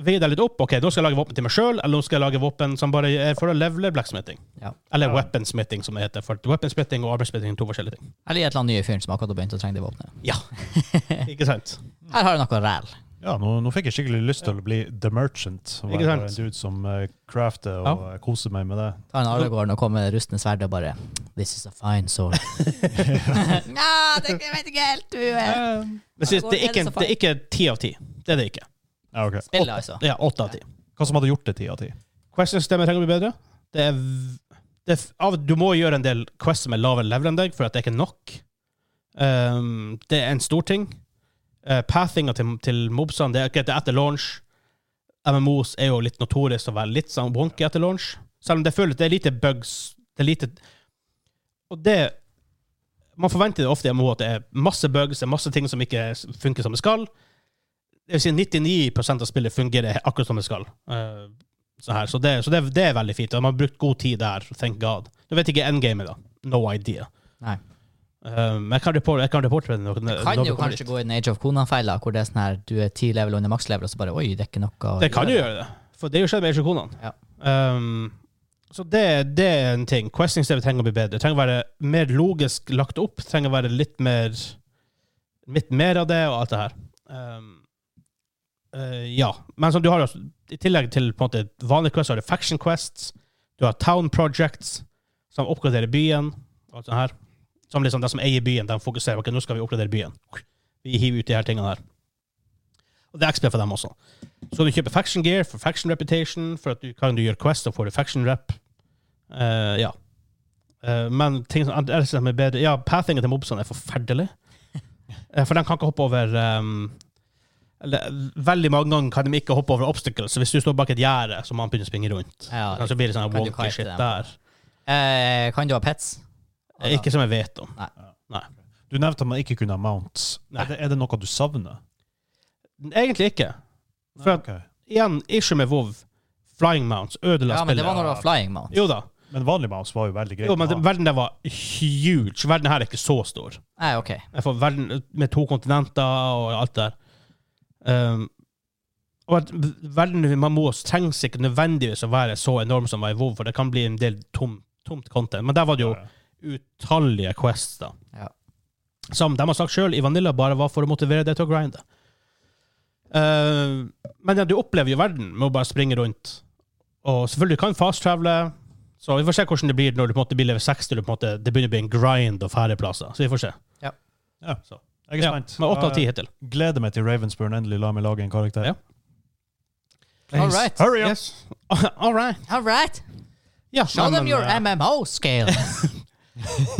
veie deg litt opp. Ok, nå skal jeg lage våpen til meg sjøl, eller nå skal jeg lage våpen som bare er for å levele blacksmithing.
Ja.
Eller
Ja.
weaponsmithing, som det heter. For weaponsmithing og arbeidssmithing er to forskjellige
<laughs>
ting.
Eller i et eller annet nye fyren som akkurat har begynt å trenge det våpenet.
Ikke sant?
Her har du noe ræl.
Ja, nå, nå fikk jeg skikkelig lyst til å bli The Merchant. Og
Ikke
være bare en
sant?
dude som eh, crafter og eh, koser meg med det.
Ta en Aragorn og komme med det rustne sverdet og bare This is a fine
<laughs>
sword. <laughs> Nja, det jeg vet ikke helt. Du er
Men sist,
Går
det, er
Eh, det
ikke,
så
det er ikke ti av ti. Det er det ikke.
Ja, ok.
Spillet, altså.
Ja, åtte av ti.
Hva som hadde gjort det ti av ti?
Quest-systemet trenger å bli bedre. Det er, v- det er, f- av, du må gjøre en del quests som er lavere level enn deg, for at det er ikke nok. Um, det er en stor ting. Uh, Pathinga til, til mobsene det er, ikke- det er etter launch. MMOs er jo litt notorisk å være litt sånn wonky etter launch. Selv om det føles det er lite bugs. Det er lite Og det Man forventer det ofte i MMO at det er masse bugs, det er masse ting som ikke funker som det skal. Det vil si 99 av spillet fungerer akkurat som det skal. Uh, så, her. så, det, så det, det er veldig fint. og De har brukt god tid der. Thank God. Du vet ikke endgamet, da. No idea.
Nei.
Um, jeg kan reporte, jeg kan reporte det. Når, når
Kan
når
jo
vi kommer
kanskje
dit.
gå i den Age of Conan-feila, hvor det er sånn her du er ti level under makslevel, og så bare Oi, det er ikke noe å
Det kan jo gjøre det. For det er jo skjedd med Asiakonene. Um, så det, det er en ting. Questing-stedet trenger å bli bedre. Det trenger å være mer logisk lagt opp. Det trenger å være litt mer Litt mer av det og alt det her. Um, eh, ja. Men som du har også, i tillegg til på en måte vanlige quests, så har du faction quests. Du har town projects, som oppgraderer byen. og alt sånt her. Som liksom De som eier byen, de fokuserer ok, nå skal vi oppgradere byen. Vi hiver ut de her tingene her. Og det er XP for dem også. Så du kjøper faction gear for faction reputation, for at du kan du gjøre quest og får du faction rep. Eh, ja. Eh, men ting som er, som er bedre Ja, pathingen til mobsene er forferdelig. Eh, for de kan ikke hoppe over ehm, eller, Veldig mange ganger kan de ikke hoppe over obstacles. Så hvis du står bak et gjerde, så må han begynne å springe rundt.
Ja,
så blir det sånn
kan du
wonky
kite
shit
dem?
der.
Eh, kan du ha pets?
Eh, Ikke som jeg vet om.
Du nevnte at man ikke kunne ha mounts.
Nei.
Er det, er det noe du savner?
Egentlig ikke. For at,
Ok.
igjen, issue med WoW. Flying mounts ødela
Ja, men det
spillet.
var når du var flying mount.
Jo da.
Men vanlig mounts var jo veldig greit.
Jo, men
å
det-
ha.
verden der var huge. Verden her er ikke så stor.
Nei, Eh, ok.
Jeg får verden med to kontinenter og alt det der. Um, og at verden i Mamos trengs ikke nødvendigvis å være så enorm som var i WoW, for det kan bli en del tom, tomt content. Men der var det jo
Ja, ja.
utallige quests, da.
Ja.
Som de har sagt sjøl, i Vanilla bare var for å motivere deg til å grinde. Eh, men ja, du opplever jo verden med å bare springe rundt. Og selvfølgelig kan fast-travele, så vi får se hvordan det blir når du på en måte blir level 60, og på en måte, det begynner å bli en grind og færre plasser. Så vi får se.
Jeg er
Ja,
spent.
men åtte av ti hittil.
Jeg Gleder meg til Ravensburn endelig lar meg lage en karakter.
Ja.
Please,
All right.
Hurry up!
Yes. <laughs> All right.
All right.
Ja,
Show
men,
them your
eh,
MMO scale.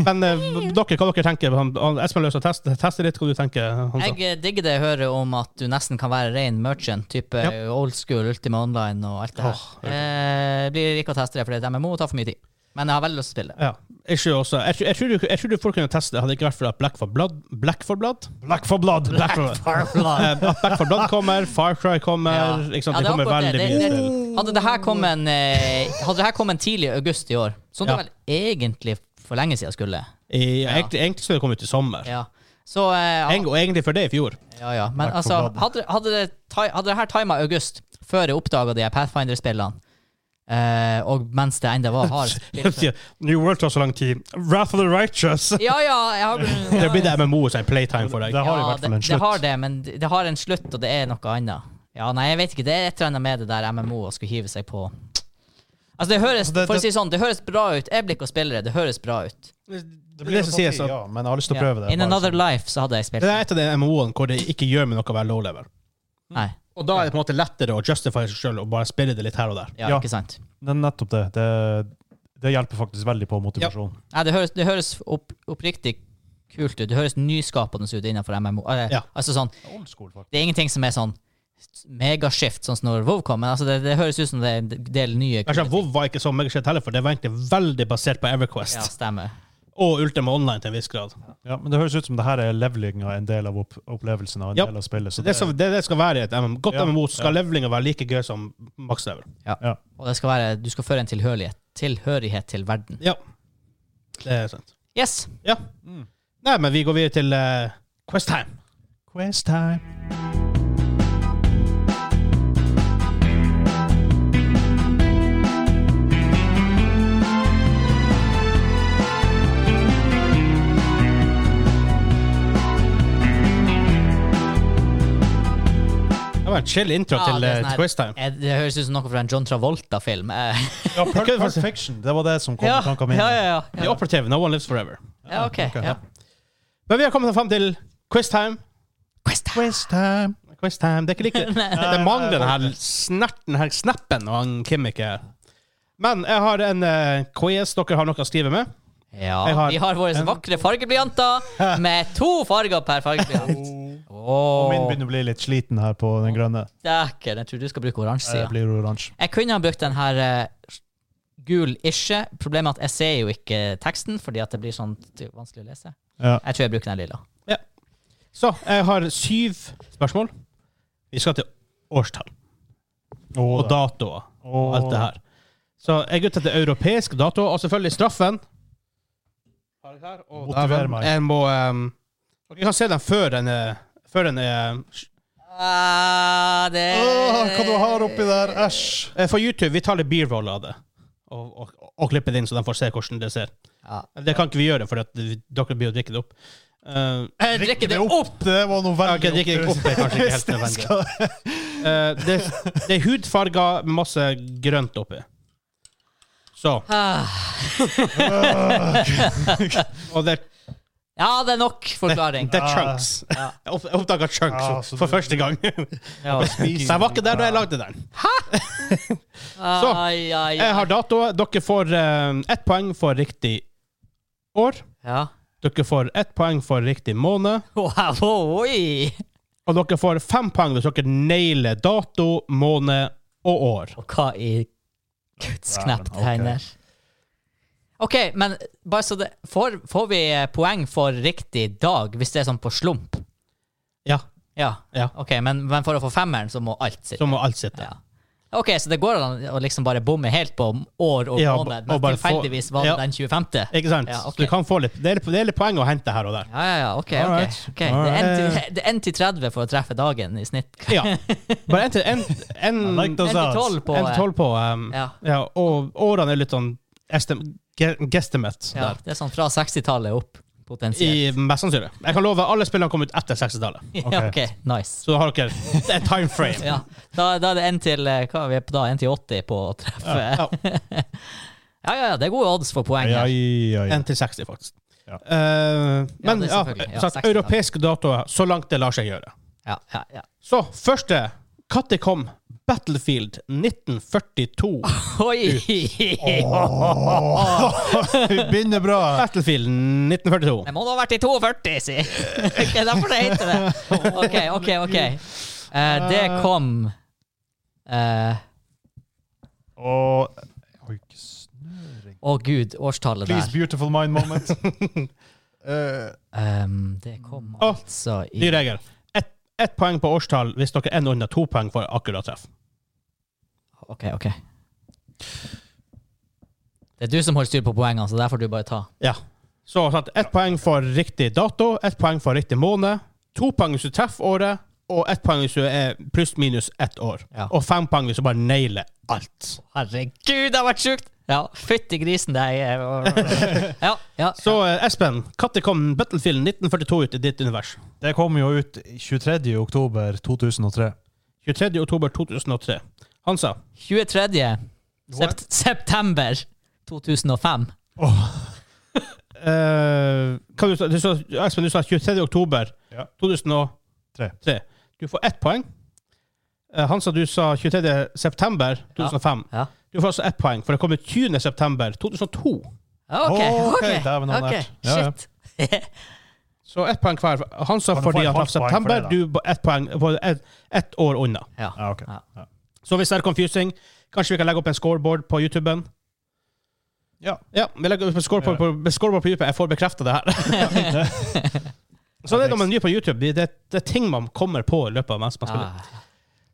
Men eh, dere, hva dere tenker han- han- Espen løser test, tester litt hva du tenker. Hansa.
Jeg eh, digger det jeg hører om at du nesten kan være ren merchant, type
Ja.
old school, Ultima Online og alt det her.
Åh,
eh, blir ikke å teste det, for det er et MMO og tar for mye tid. Men jeg har veldig lyst til
<laughs>
å spille.
Ja. Jeg, tror også, jeg, tror- jeg, tror du, jeg tror du folk kunne teste det, hadde det ikke vært for at Black for Blood Black for Blood?
Black for blood!
Black for,
<laughs>
Eh, at Back for Blood kommer, Far Cry kommer
Ja.
ikke sant?
Ja,
Det
er
kommer
akkurat
veldig
det.
mye
Det- det-
spill.
Hadde det her kommet en, eh, hadde det her kommet tidlig i august i år, som
Ja.
det vel egentlig for lenge siden skulle
I- Egentlig, egentlig skulle det komme ut i sommer.
Ja. Så eh,
Eng- og egentlig for det i fjor.
Ja, ja. Men
Takk
altså,
for bladet.
hadde, hadde, det, ti- hadde det her tima august, før jeg oppdaga de her Pathfinder-spillene, Eh, og mens det enda var hard
<laughs>
spill. så-
New World tar så lang tid. Wrath of the Righteous!
Ja, ja,
<laughs>
jeg har
<laughs> Det blir det MMO som er playtime for deg.
Det har i
Ja,
hvert fall
det-
en slutt.
Det har det, men det det har en slutt, og det er noe annet. Ja, nei, jeg vet ikke. Det er et eller annet med det der MMO å skulle hive seg på. Altså, det høres,
Altså, det-
for å
det-
si sånn, det høres bra ut. Jeg blir ikke å spille det. Det høres bra ut.
Det blir det som sies at
Ja, men jeg har lyst til å
Ja.
prøve det.
In
bare
Another
sånn.
Life så hadde jeg spilt
Det er et
det.
av de MMO-ene hvor det ikke gjør meg noe å være low level.
Nei.
Og da er det på en måte lettere å justify seg sjøl og bare spille det litt her og der.
Ja,
Ja.
ikke sant.
Det er nettopp det. det. Det hjelper faktisk veldig på motivasjon.
Nei, det høres, det høres opp, oppriktig kult ut. Det høres nyskapende ut innenfor MMO. Eh,
Ja.
Altså sånn,
Old school, faktisk.
det er ingenting som er sånn megaskift, sånn som når WoW kom, men altså det, det høres ut som det er en del nye
Jeg
sånn
skjønner, sånn, WoW var ikke så megashit heller, for det var egentlig veldig basert på Everquest.
Ja, stemmer.
Og Ultima Online til en viss grad.
Ja, men det høres ut som det her er levelinga en del av opp opplevelsen av en
Ja.
del av spillet. Så
Det, som, det, det skal være i et MMO. godt
Ja,
MMO, så skal
ja.
levelinga være like gøy som max level.
Og det skal være, du skal føre en tilhørighet, tilhørighet til verden.
Ja. Det er sant.
Yes!
Ja.
Mm.
Nei, men vi går videre til eh, Questtime.
Quest time.
Det var en chill intro
Ja,
til
det er
eh,
sånn her-
Questime.
Eh, Det høres ut som noe fra en John Travolta-film. Eh,
Ja, Pulp,
Ikke-
Pulp Fiction. Det var det som kom
Ja,
i
ja,
tankene mine.
ja.
The
ja.
Operative, No One Lives Forever.
ja ok.
ok.
Ja. <laughs>
Men vi har kommet frem til Questime.
Quest time.
Quest time.
Questime. Det er ikke like
<laughs>
Det det mangler den her snerten, her snappen og han Kim ikke er. Men jeg har en eh, quiz dere har noe å skrive med. Jeg
Ja,
har
vi har våre vakre fargeblyanter med to farger per fargeblyant. Åh,
Og min begynner å bli litt sliten her på den grønne.
dæken, jeg tror du skal bruke oransje
Jeg
sida.
blir oransje.
Jeg kunne ha brukt den her eh, gul isje. Problemet er at jeg ser jo ikke teksten, fordi at det blir sånn t- vanskelig å lese.
Ja.
Jeg tror jeg bruker den lilla.
Så jeg har syv spørsmål. Vi skal til årstall og datoer og alt det her. Så jeg er ute etter europeisk dato, og selvfølgelig straffen. Har jeg her, og
Motiver
dæven,
meg.
Jeg må ehm, Dere kan se den før den er før den er
Ah, det
Åh, hva du har oppi der? Æsj.
eh, For YouTube, vi tar litt b-roll av det. Og, og, og klipper det inn, så de får se hvordan det ser.
Ja.
Det kan ikke vi gjøre, for at vi- dere blir å drikke det opp. Uh,
Jeg Eh, drikker det opp!
Det var noe
ok,
veldig
drikke det opp er kanskje
<laughs>
ikke helt nødvendig. <laughs> Eh, det, det er hudfarger med masse grønt oppi. Så.
Ah.
Og det,
Ja, det er nok forklaring.
det er chunks.
Ja.
Jeg opp- jeg oppdaga chunks
Ah, så
for
du- Ah.
første gang. <laughs>
Ja.
Så jeg var ikke der da jeg lagde den. Så,
Ai, ai,
Jeg har
ai.
datoer. Dere får eh, ett poeng for riktig år.
Ja.
Dere får ett poeng for riktig måned.
Wow, oi!
Og dere får fem poeng hvis dere nailer dato, måned og år.
Og hva i Guds knapp
Dæven,
det hender. OK, men bare så det får, får vi eh, poeng for riktig dag hvis det er sånn på slump?
Ja.
Ja.
Ja.
OK, men, men for å få femmeren, så må alt sitte.
Så må alt sitte.
Ja. OK, så det går an å liksom bare bomme helt på år og
Ja,
måned,
og
men
bare få-
tilfeldigvis var det
Ja.
den 25.
Ikke sant?
Ja, ok.
Så du kan få litt, det, er, litt- det er litt poeng å hente her og der.
Ja, ja, ja. OK. ok,
Alright.
ok. Det er 1 til- det er 1 til 30 for å treffe dagen i snitt.
Ja. Bare en til en, en,
<laughs> I like
en
those
1 til
odds.
12 på eh,
til tolv på. Um, ja.
Ja.
og årene er litt sånn estim, ge- guesstimate
ja.
der.
Det er sånn fra 60-tallet opp, potensielt.
I mest sannsynlig. Jeg kan love alle spillene kom ut etter 60-tallet.
<laughs> Ja,
Ok.
OK, nice.
Så da har
<laughs>
dere et time frame.
Ja. Da, da er det 1 til eh, Hva er vi på da? 1 til 80 på å treffe?
Ja.
Ja, <laughs> ja, ja. Det er gode odds for poeng
Ja,
her.
ja, ja.
En til 60, faktisk.
Ja.
Eh, men
det er
ja,
selvfølgelig. Ja,
så at
60-tallet.
europeiske datoer så langt det lar seg gjøre.
Ja, ja, ja.
Så første Når kom Battlefield 1942?
Ah. Oi! <laughs>
Vi begynner
<laughs>
bra.
Battlefield 1942.
Det må da ha vært i 42, si! <laughs> Ok, derfor det heter det. OK, OK, OK. Eh, det kom eh,
Og Jeg har ikke snøring.
Å gud, årstallet
Please,
der.
beautiful mind moment. Eh,
Ehm, det kom
Å,
altså i
Ny regel. Ett ett poeng på årstall hvis dere er under to poeng for akkurat treff.
OK, OK. Det er du som holder styr på poengene, så der får du bare ta.
Ja. Så sant? ett poeng for riktig dato, ett poeng for riktig måned, to poeng hvis du treffer året, og ett poeng hvis du er pluss-minus ett år.
Ja.
Og fem poeng hvis du bare nailer alt.
Herregud, det har vært sjukt! Ja, fytti grisen, det er Ja, ja.
Så eh, Espen, når kom Battlefield 1942 ut i ditt univers?
Det kom jo ut 23. oktober 2003.
23. oktober 2003. Han sa
23. Sept september 2005.
eh, hva du, sa- du sa Espen, du sa 23. oktober
Ja.
2003. Du får ett poeng. Eh, han sa du sa 23. september 2005.
Ja.
Du får altså ett poeng, for det kom ut 20. september 2002.
Ja, OK.
Å,
ok,
ok, dæven, han er
ok,
nært. Ja, ja.
Shit. <laughs>
Så ett poeng hver. Han sa
Kan du få
fordi
et
han traff
halvt poeng for
september,
det, da?
du ba- ett poeng på ett, ett år unna.
Ja.
Ja, ok.
Ja.
Ja.
Så hvis det er confusing, kanskje vi kan legge opp en scoreboard på YouTuben?
Ja.
Ja, vi legger opp en scoreboard på, scoreboard på YouTube. Jeg får bekrefta
<laughs>
det her. Så det er når man er ny på YouTube. Det, det, det er ting man kommer på i løpet av mens man spiller.
Ah,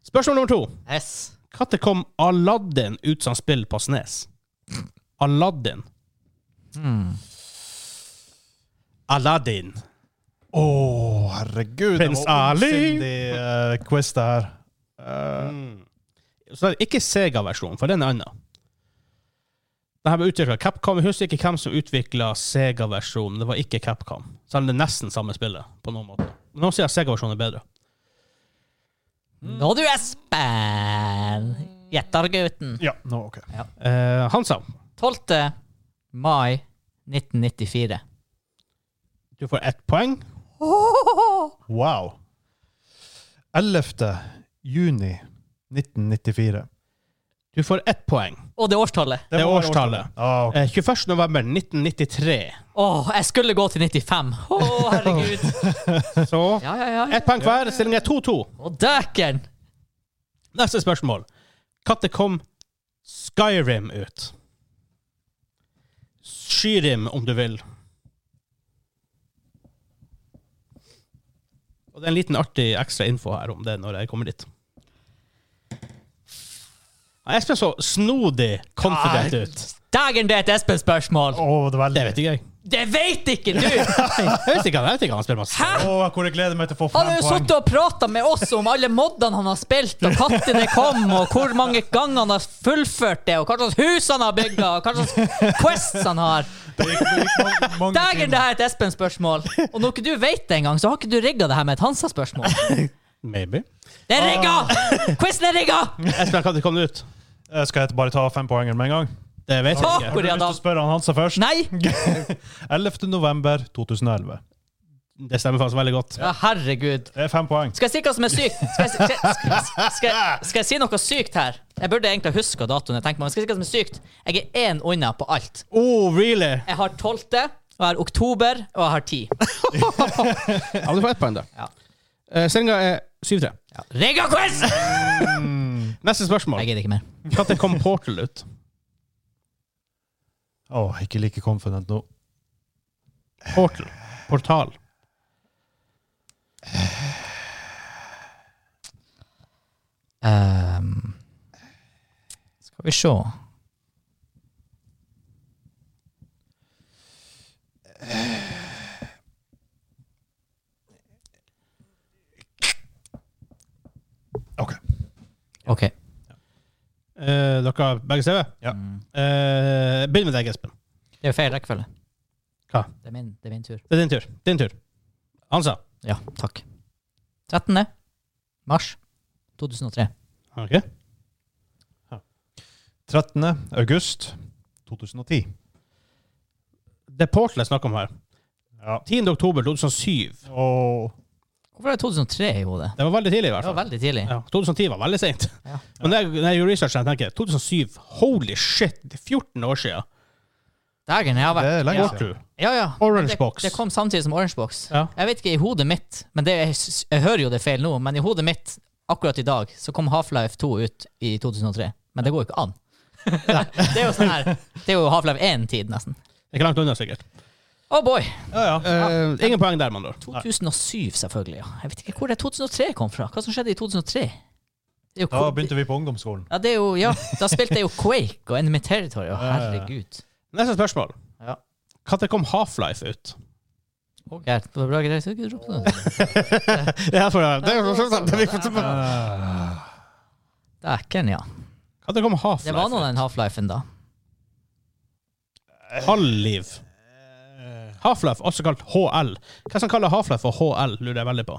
Spørsmål nummer to.
yes.
Når kom Aladdin ut som spill på Snes? Aladdin.
Mm.
Aladdin.
Å, herregud!
Prins Ali!
quiz det her. Eh,
Mm. Så det er ikke Sega-versjonen, for den er annen. Den her ble utviklet av Capcom. Jeg husker ikke hvem som utvikla Sega-versjonen. Det var ikke Capcom. Selv om det er nesten samme spillet, på noen måte. Men Noen sier at Sega-versjonen er bedre.
Nå du, Espen! Gjettergutten.
ja, nå, ok.
Eh, Hansa,
12. mai 1994.
du får ett poeng.
Wow. 11. juni 1994.
Du får ett poeng.
Og det er årstallet.
Det er
var
årstallet.
Ah, ok.
Eh, 21. november 1993.
Å, jeg skulle gå til 95. Å, herregud.
Så
<laughs> Ja, ja, ja.
ett poeng hver. Stillingen er 2-2.
Å, dæken!
Neste spørsmål. Når kom Skyrim ut? Skyrim, om du vil. Og det er en liten artig ekstra info her om det når jeg kommer dit. Ja, Espen så snodig confident
Ah,
ut.
Dægen, det er et Espen-spørsmål!
Åh, det er veldig
Det vet ikke jeg.
Det vet ikke du!
Jeg vet ikke, jeg vet ikke hva han spiller masse.
Hæ?
Åh, hvor jeg gleder meg til å få
Han
fem
har jo
poeng.
sittet og prata med oss om alle moddene han har spilt, og når det kom, og hvor mange ganger han har fullført det, og hva slags hus han har bygga, og hva slags quests han har.
Det gikk, det gikk
<laughs>
mange, mange
Dægen, det
timer.
her er et Espen-spørsmål. Og når ikke du vet det engang, så har ikke du rigga det her med et Hansa-spørsmål.
Maybe.
Det er rigga! Quizen er rigga!
Espen, når kom det ut?
Eh, Skal jeg bare ta fem poenger med en gang?
Det vet
Ah!
jeg ikke.
Jeg
Hvor
har
er
lyst til
han?
å spørre han Hansa først. <laughs>
Nei!
11. november 2011.
Det stemmer faktisk veldig godt.
Ja, herregud.
Det er fem poeng.
Skal jeg si hva som er sykt? Skal jeg, skal, jeg- skal, jeg- skal, jeg- skal jeg si noe sykt her? Jeg burde egentlig huske datoen. Jeg tenker meg, men skal jeg si hva som er sykt? Jeg er én unna på alt.
Oh, really?
Jeg har 12., og jeg har oktober, og jeg har 10.
Ja, du får ett poeng, da.
Ja.
Eh, Stillinga er 7-3.
Rigga-quiz!
Neste spørsmål.
Jeg gidder ikke mer.
Når kom Portal ut?
Åh, ikke like confident nå.
Portal. Portal.
Ehm, skal vi se
Ok.
OK.
Eh, dere har begge CV?
Ja.
Eh, Begynn med deg, Espen.
Det er jo feil rekkefølge.
Hva?
Det er min, det er min tur.
Det er din tur. Din tur. Hansa.
Ja, takk. 13. mars 2003.
Ok.
13. august 2010.
Det er Portal jeg snakker om her.
Ja.
10. oktober 2007.
Og
Hvorfor er det 2003 i hodet?
Det var veldig tidlig, i
Det
hvert
var
fall.
veldig tidlig.
Ja, 2010 var veldig seint.
Ja.
Men når jeg, når jeg gjorde research, jeg tenker 2007 Holy shit! Det er 14 år siden.
Dagen jeg har
det
vært
er lenge
Portal.
siden.
Ja, ja.
Orange
Det,
Box.
det kom samtidig som Orange Box.
Ja.
Jeg vet ikke i hodet mitt, men det, jeg, s- jeg hører jo det feil nå, men i hodet mitt akkurat i dag så kom Half-Life 2 ut i 2003. Men det går jo ikke an. <laughs> det er jo sånn her Det er jo Half-Life 1-tid, nesten.
Ikke langt unna, sikkert.
Oh boy!
Ja, ja.
Eh, ingen poeng der, med andre ord.
2007, selvfølgelig. ja. Jeg vet ikke hvor det 2003 kom fra. Hva som skjedde i 2003? Det er jo,
Da
ko-
begynte vi på ungdomsskolen.
ja, det er jo, ja, da spilte jeg jo Quake og Enemy Territory. Å, herregud.
Neste spørsmål.
Ja.
Når kom Half-Life ut?
Ok, det var bra greit. Ikke dropp det.
Ja, for det- det er jo sånn at vi får se på-
Eh,
Dæken, ja.
Hva det kommer
Det var nå
Half-Life?
den half-lifen, da.
Halv-liv. Half-Life, også kalt HL. Hva som kaller Half-Life for HL, lurer jeg veldig på.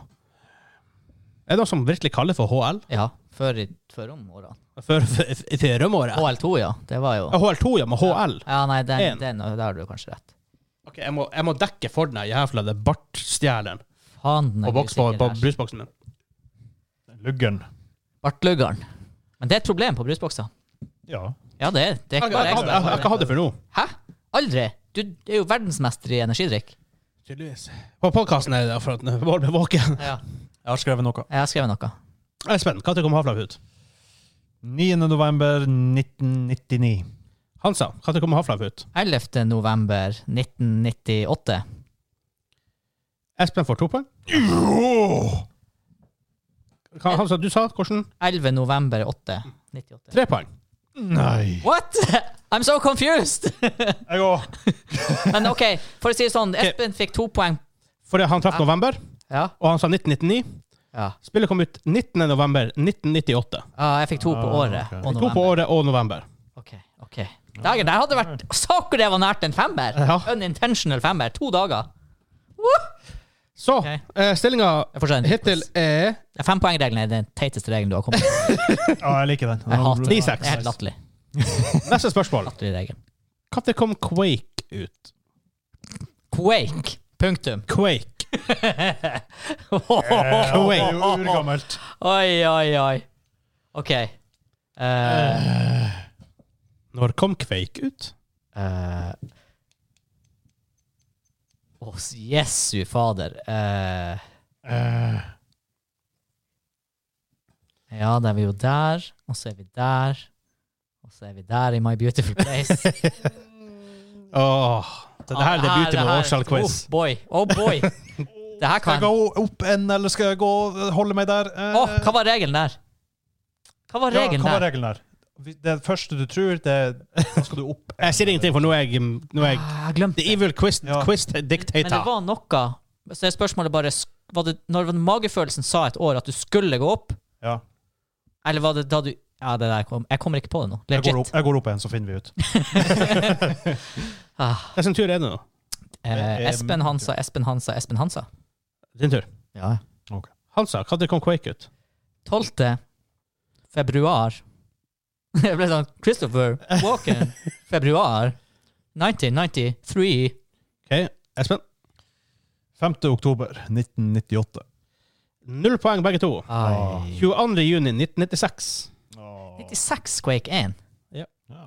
Er det noen som virkelig kaller for HL?
Ja, før, i- før om åra.
Før føremåret?
HL2, ja. Det var jo
HL2, ja, men HL.
Ja, nei,
En.
den, den, der har du kanskje rett.
Ok, jeg må, jeg må dekke for den her jævla det bartstjelen
Faen, den
og boks på, på
musikken der.
brusboksen min.
Luggen.
Bartluggeren. Men det er et problem på brusbokser.
Ja.
Ja, det er det. er
Jeg har
ikke
ikke
bare
hatt-
jeg
jeg har
som
ikke hatt
har
det
det.
før nå.
Hæ? Aldri? Du er jo verdensmester i energidrikk.
Tydeligvis. På podkasten er det for at Bård blir våken.
Ja.
Jeg har skrevet noe.
Jeg har skrevet noe.
Espen, når kom Half-Life ut?
9. november 1999.
Hansa, når kom Half-Life ut?
11. november 1998.
Espen får to poeng. Hva- Hansa, du sa hvordan?
11. november 8. 98.
Tre poeng.
Nei.
What?! <laughs> I'm so confused!
Jeg òg.
Men OK, for å si det sånn, Espen fikk to poeng.
Fordi han traff november,
Ja.
og han sa 1999.
ja.
Spillet kom ut 19. november 1998.
Ja, jeg fikk to på
Ah,
året.
ok.
Og
To på
november.
året og november.
OK. ok. Dagen der hadde vært Saker det var nært en femmer!
Ja.
Unintentional femmer. To dager.
Så
Ok.
eh, stillinga
Jeg får se en
hittil er
Ja, Fempoengregelen er den teiteste regelen du har kommet med.
Ja, jeg liker den.
Jeg hater den.
Ni
Det
seks.
er helt latterlig.
Neste spørsmål.
Latterlig regel.
Når kom Quake ut?
Quake. Punktum.
Quake. Eh,
Quake.
Quake.
Urgammelt.
Oi, oi, oi. OK. Eh,
Når kom Quake ut?
eh. Åh, Jesu fader. Eh, ja, da er vi jo der, og så er vi der, og så er vi der i My Beautiful
<laughs>
Place.
Åh, det her er
Ah,
debuten med
her-
Årshall Quiz.
Oh boy. Oh
<laughs>
boy. Det her
Skal
kan
jeg
Åh,
gå opp en, eller skal jeg gå holde meg der? Eh,
hva var regelen der? Hva var
ja,
regelen
hva var
der?
regelen der? Det første du tror, det da skal du opp.
Jeg sier ingenting, for nå er jeg, nå er jeg
Ah, jeg glemte
The evil quiz,
Ja.
quiz
Men det
dictator.
var noe Så er spørsmålet bare sk- var det, Når var det magefølelsen sa et år at du skulle gå opp,
Ja,
eller var det da du Ja, det der kom Jeg kommer ikke på det nå.
jeg går
Legit.
opp, jeg går opp igjen, så finner vi ut.
Ah,
Hvilken tur er det nå?
eh, Espen Hansa, Espen Hansa, Espen Hansa.
Din tur.
Ja.
Hansa, når kom Quake ut?
12. februar <laughs> Jeg ble sånn Christopher
<laughs>
Walken, februar 1993.
Ok, Espen.
5. oktober 1998.
Null poeng begge to.
Ah.
Ai.
22. juni 1996.
96 Quake 1.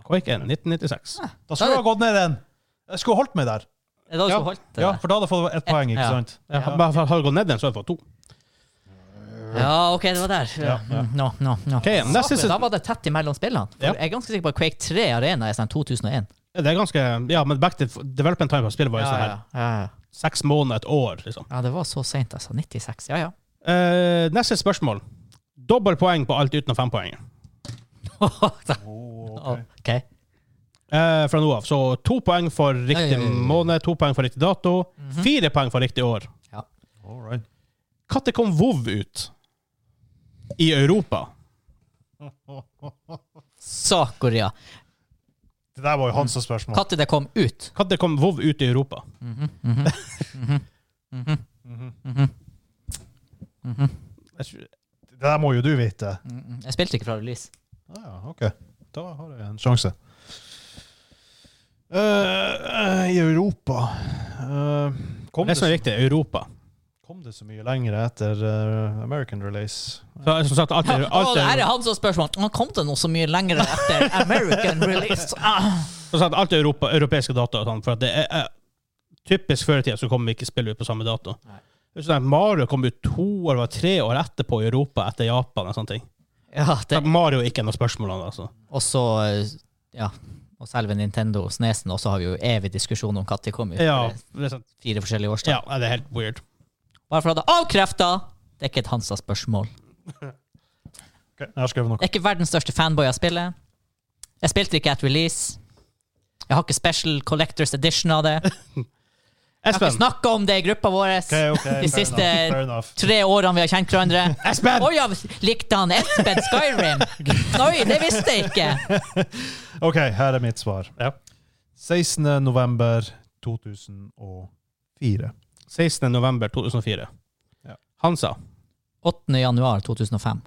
Quake 1, 1996.
Ah,
Da skulle jeg ha gått ned en. Jeg skulle holdt meg der.
Er det da du
Ja.
skulle holdt det?
Ja,
der?
for da hadde jeg fått ett poeng, ikke
Ja.
sant?
<laughs>
Ja.
Ja.
Bare for- Har du gått ned den, så har du fått to.
Ja, OK, det var der.
Ja, ja.
Nå, nå, nå.
Ok, neste
Da var det tett imellom spillene. For
Ja.
Jeg er ganske sikker på at Quake 3 Arena er sånn 2001.
Det er ganske Ja, men back to development time på spillet var jo sånn her
ja, ja.
seks måneder, et år, liksom.
ja, det var så seint, altså. 96. Ja, ja.
<laughs> Eh, neste spørsmål. Dobbelt poeng på alt utenom fempoenget.
Oh,
OK.
Eh, fra nå av. Så to poeng for riktig
Oi, oi, Mhm. oi, oi.
måned, to poeng for riktig dato, fire poeng for riktig år.
All right.
Når kom WoW ut i Europa?
Sakuria.
Det der var jo hans spørsmål.
Når det kom ut?
Når kom WoW ut i Europa?
Mhm,
Jeg tror-
Det der må jo du vite.
Mm, Jeg spilte ikke fra release.
Ja, ok. Da har jeg en sjanse. Eh, eh, I Europa eh, kom,
Det
det
som
så,
er viktig, Europa.
kom det så mye lenger etter eh, American release?
Så, som sagt, alt
Ja,
er,
<laughs> å,
alt
det her er
er,
han som spør sånn «Å, Kom det noe så mye lenger etter
<laughs>
American release? Ah.
som sagt, alt er Europa, europeiske data. og sånn, For at det er, er typisk før i tida så kommer vi ikke spille ut på samme dato.
Nei.
Det er Sånn, at Mario kom ut to år, var tre år etterpå i Europa, etter Japan og sånne ting.
Ja,
Så
det.
at Mario er ikke noe spørsmål om det, altså.
Og så eh, Ja. Og selve Nintendo Snesen, og så har vi jo evig diskusjon om når det kom ut.
Ja,
Det er
det er, sant.
Fire forskjellige årstall.
ja, det er helt weird.
Bare for å ha det avkrefta! Det er ikke et Hansa-spørsmål.
Ok, jeg har skrevet noe.
Jeg er ikke verdens største fanboy av spillet. Jeg spilte ikke at release. Jeg har ikke special collectors edition av det. Jeg har ikke
Espen,
snakka om det i gruppa vår
Ok,
<laughs>
ok, fair
siste-
enough, fair enough.
tre årene vi har kjent hverandre.
Espen!
Å ja, likte han Espen Skyrim? Oi, det visste jeg ikke!
OK, her er mitt svar.
Ja.
16. november 2004.
16. november 2004.
Ja.
Han sa
8. januar 2005.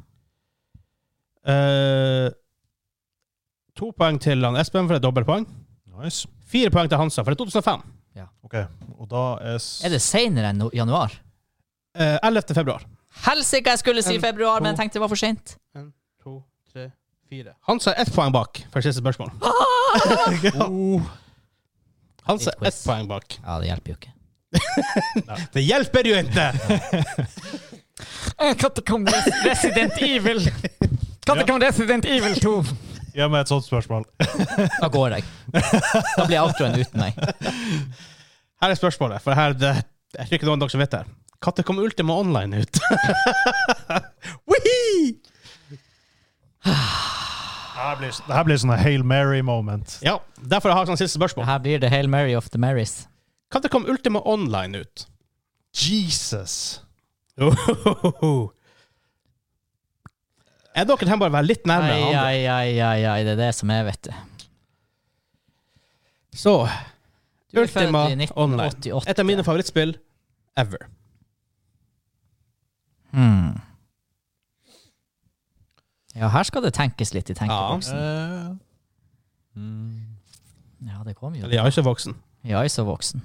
eh, To poeng til han Espen for et dobbeltpoeng.
Nice.
Fire poeng til Hansa for et 2005.
OK, og da er, s-
Er det seinere enn no- januar?
Eh, 11. februar.
Helsike, jeg skulle si
En,
februar, men
to.
jeg tenkte det var for seint.
To, tre, fire. Hansa er ett poeng bak for siste spørsmål.
oh,
Hansa er
Litt
ett
quiz.
poeng bak.
Ja, det hjelper jo ikke.
Det hjelper jo <laughs> ikke!
Kattekom Eh, Resident Evil.
Catacomb
Resident Evil 2.
Gi meg et sånt spørsmål.
Da går jeg. Da blir outroen uten meg.
Her er spørsmålet, for her, det, jeg tror ikke noen av dere som vet det. her. Når kom Ultima Online ut? <laughs> Woohoo!
Det her blir, det her blir sånn Hail Mary-moment.
ja, derfor har jeg sånn siste spørsmål.
<laughs> Her blir det Hail Mary of the Marys.
Når kom Ultima Online ut?
Jesus!
Ohohoho. <laughs> Er dere her bare å være litt
Ai,
nærmere
ai,
andre?
ai, ai, ai, det er det som er, vet du.
Så,
Du er født
Ultima
i
Online.
1988.
Et av mine favorittspill ever.
Hmm. Ja, her skal det tenkes litt i tenkeboksen.
Eh, mm.
Ja, det kom jo.
Eller jeg er ikke voksen.
Ja, jeg er så voksen.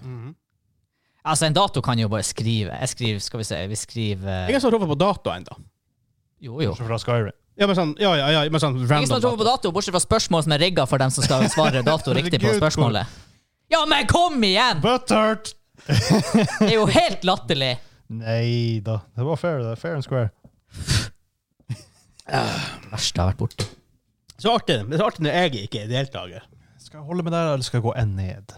Altså, en dato kan jo bare skrive. Jeg skriver, skal vi se, vi skriver
Ingen som roper på dato ennå.
Jo, jo.
Kanskje Fra Skyrim.
Ja, men sånn, ja, ja, ja, men sånn
Ingen som
random
tror på
dato.
dato, bortsett fra spørsmål som er rigga for dem som skal <laughs> svare dato riktig på
Herregud,
spørsmålet. Ja, men kom igjen!
Butthurt!
Det er jo helt latterlig!
Nei da. Det var fair, det. Fair and square.
Det verste jeg har vært borti.
Så artig, det er så artig når jeg ikke er deltaker.
Skal jeg holde med der, eller skal jeg gå en <laughs> ned?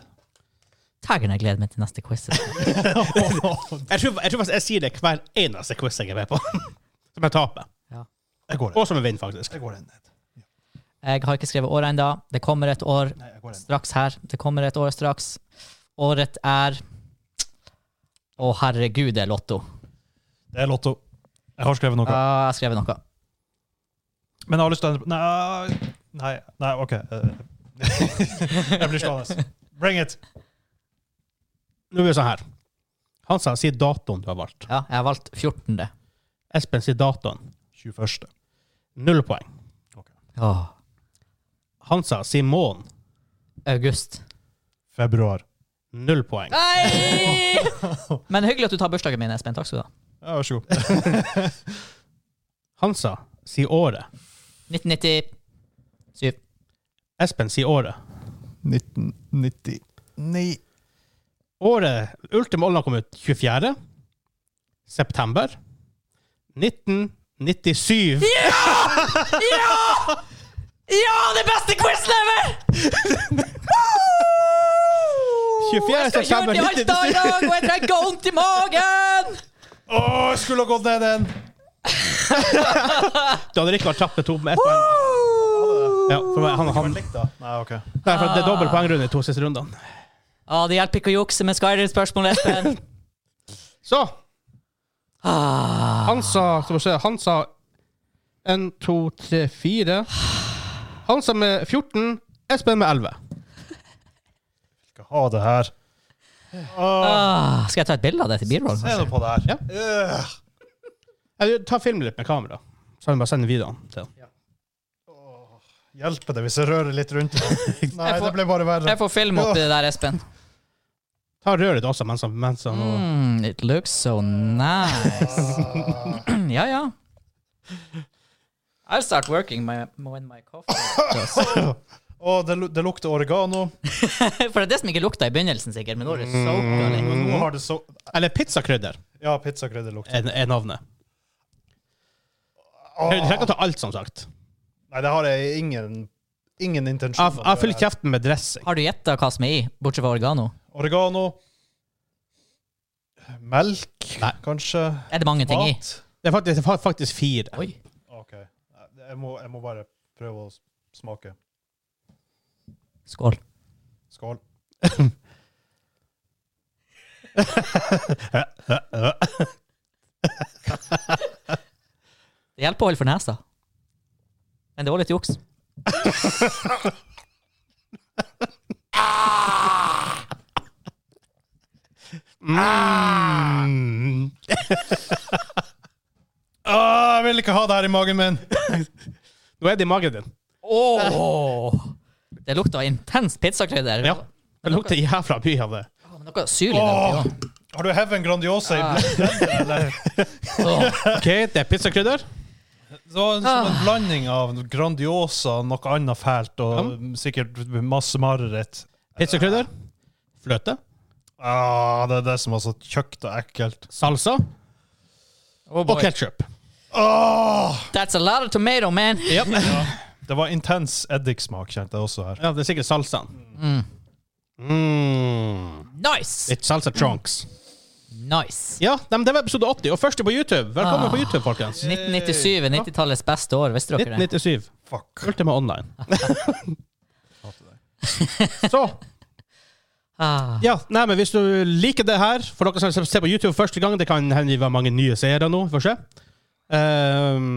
Taggen, jeg gleder meg til neste quiz.
Jeg tror, jeg tror faktisk jeg sier det hver eneste quiz jeg er med på. <laughs> Som jeg taper.
Jeg går en.
Og som jeg vinner, faktisk.
Jeg går en ned.
Jeg har ikke skrevet året ennå. Det kommer et år
Nei, jeg går en.
straks her. Det kommer et år straks. Året er Å, herregud, det er Lotto.
Det er Lotto. Jeg har skrevet noe.
Ah, jeg har skrevet noe.
Men jeg har lyst til å endre på Nei, nei, nei OK. <laughs> eh, jeg blir stående. Bring it!
Nå blir det sånn her. Hansa, si datoen du har valgt.
Ja, jeg har valgt 14.
Espen, si datoen.
21.
Null poeng.
Åh.
Hansa, si måneden.
August.
Februar.
Null poeng.
Nei! Men hyggelig at du tar bursdagen min, Espen. Takk skal du ha.
Ja, vær så <laughs> god.
Hansa, si året.
1997.
Espen, si året.
1999.
Året Ultima Online kom ut 24. september 1997.
Ja! Ja, det beste quizen ever!
24.
Jeg skal kjøre til Alta i dag, og jeg trekker vondt i magen!
Å, jeg skulle ha gått ned en!
Da hadde Rikard tapt med to med ett poeng. Ja, for han, han,
Likt, da. Nei, OK.
nei, for det er dobbel poengrunde i to siste rundene.
Ja, det hjelper ikke å jukse med Skyrim-spørsmål, Espen.
Så
Ah.
han sa Skal vi se Han sa en, to, tre, fire. Han sa med 14. Espen med 11.
Skal ha det her. Åh,
Ah. Skal jeg ta et bilde av det til B-roll?
se nå
kanskje?
på det her.
Ja.
Øh.
Eller, ta filmen litt med kamera. Så kan vi bare sende videoen til han.
Hjelper det hvis jeg rører litt <laughs> rundt? Nei,
får-
det ble bare verre.
Jeg får film oppi det der, Espen.
Ta røret også mens han, mens han og
Mm, it looks so nice. <clears throat> ja, ja. I'll start working my, when my coffee does.
<laughs> Å, det, lu- det lukter oregano.
<laughs>
Mm.
For det er det som ikke lukta i begynnelsen, sikkert, men nå er det soaka litt.
Nå har det så...
Eller pizzakrydder
Ja, pizzakrydder lukter.
er, er navnet. Du trenger ikke å ta alt, som sagt.
Nei, det har jeg ingen, ingen intensjon
Jeg
om
jeg
å
fyller
gjøre.
kjeften med dressing.
Har du gjetta hva som er i, bortsett fra oregano?
Oregano. Melk,
Nei.
kanskje.
Er det mange ting i?
Mat.
Det er faktisk, det er faktisk fire.
Oi.
OK. Jeg må, jeg må bare prøve å s- smake.
Skål.
Skål.
Det hjelper å holde for nesa. Men det var litt juks.
Mm.
Ah, jeg vil ikke ha det her i magen min!
Nå er det i magen din.
Det lukta intens pizzakrydder.
Ja. Det lukter jævla mye
<laughs>
av det.
Å, men Noe syl i den.
Har du hevet en Grandiosa i
Ah.
blenderen, eller?
<laughs>
Åh.
OK, det er pizzakrydder.
Det var en, som en blanding av Grandiosa og noe annet fælt, og sikkert masse mareritt.
Pizzakrydder. Fløte.
Ah, det er det som er så tjøkt og ekkelt.
Salsa.
Oh boy.
Og ketsjup.
Ah!
That's a lot of tomato, man.
Ja. Det var intens eddiksmak, kjente jeg også her.
Ja, det er sikkert salsaen.
Mm.
Mm.
Nice!
Litt salsa trunks.
Nice.
Ja, nei, men det var episode 80, og første på YouTube. Velkommen på YouTube, folkens.
1997 er 90-tallets beste år, visste dere det?
1997.
Fuck.
Ultima
<laughs>
Online. <laughs>
Hater deg.
Så,
Ah.
ja, nei, men hvis du liker det her, for dere som ser på YouTube første gang, det kan hende vi har mange nye seere nå, vi får se. Ehm,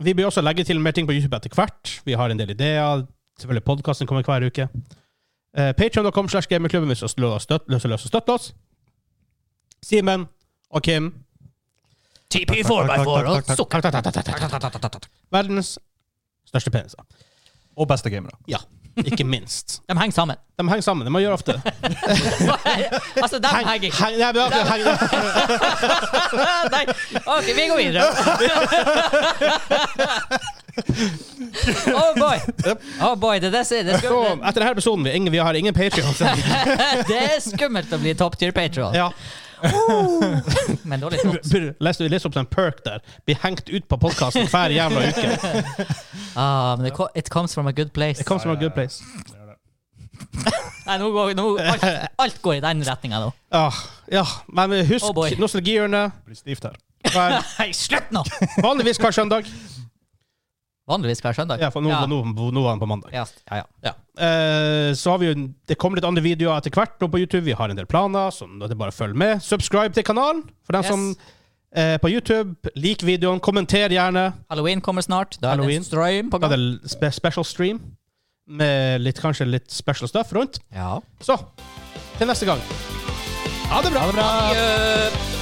vi bør også legge til mer ting på YouTube etter hvert. Vi har en del ideer. Selvfølgelig podkasten kommer hver uke. Uh, Patreon.com slash gamingklubben hvis du har lyst til å støtte- støtte oss. Simen og Kim.
TP 4x4 og sukker.
Takk, takk, takk, takk, takk. Verdens største peniser.
Og beste gamere.
Ja, ikke minst.
De henger sammen. <laughs>
De henger sammen. Det må man gjøre ofte.
altså, de
Heng,
henger ikke.
heng, nei, men akkurat
<laughs>
heng,
Nei. OK, vi går
<laughs>
videre. oh boy. Oh boy, det, der, sier- det, er
så,
skummelt.
etter denne episoden vi, ingen, vi har ingen Patrions.
<laughs> det er skummelt å bli top tier patron.
Ja.
Men dårlig tops.
Les, les opp en perk der. Bli hengt ut på podkasten hver jævla uke.
Ah, men det, ko- it comes from a good place.
It comes from a good place.
Nei, nå går, nå, alt, alt går i den retninga nå.
Ah, ja, men husk
Oh boy.
nostalgihjørnet.
Blir stivt her.
hver-
Nei, slutt nå!
Vanligvis hver søndag.
Vanligvis hver søndag.
Ja, for nå,
ja.
nå, nå, nå var den på mandag.
Ja, ja, ja.
Ja. Eh, så har vi jo, Det kommer litt andre videoer etter hvert nå på YouTube. Vi har en del planer, så det er bare å følge med. Subscribe til kanalen for den
Yes.
som eh, på YouTube. Lik videoen, kommenter gjerne.
Halloween kommer snart. Da er
Halloween.
det strøm på
Da er
gang.
det spe special stream med litt, kanskje litt special stuff rundt.
Ja.
Så, til neste gang. Ha det bra!
Adjø.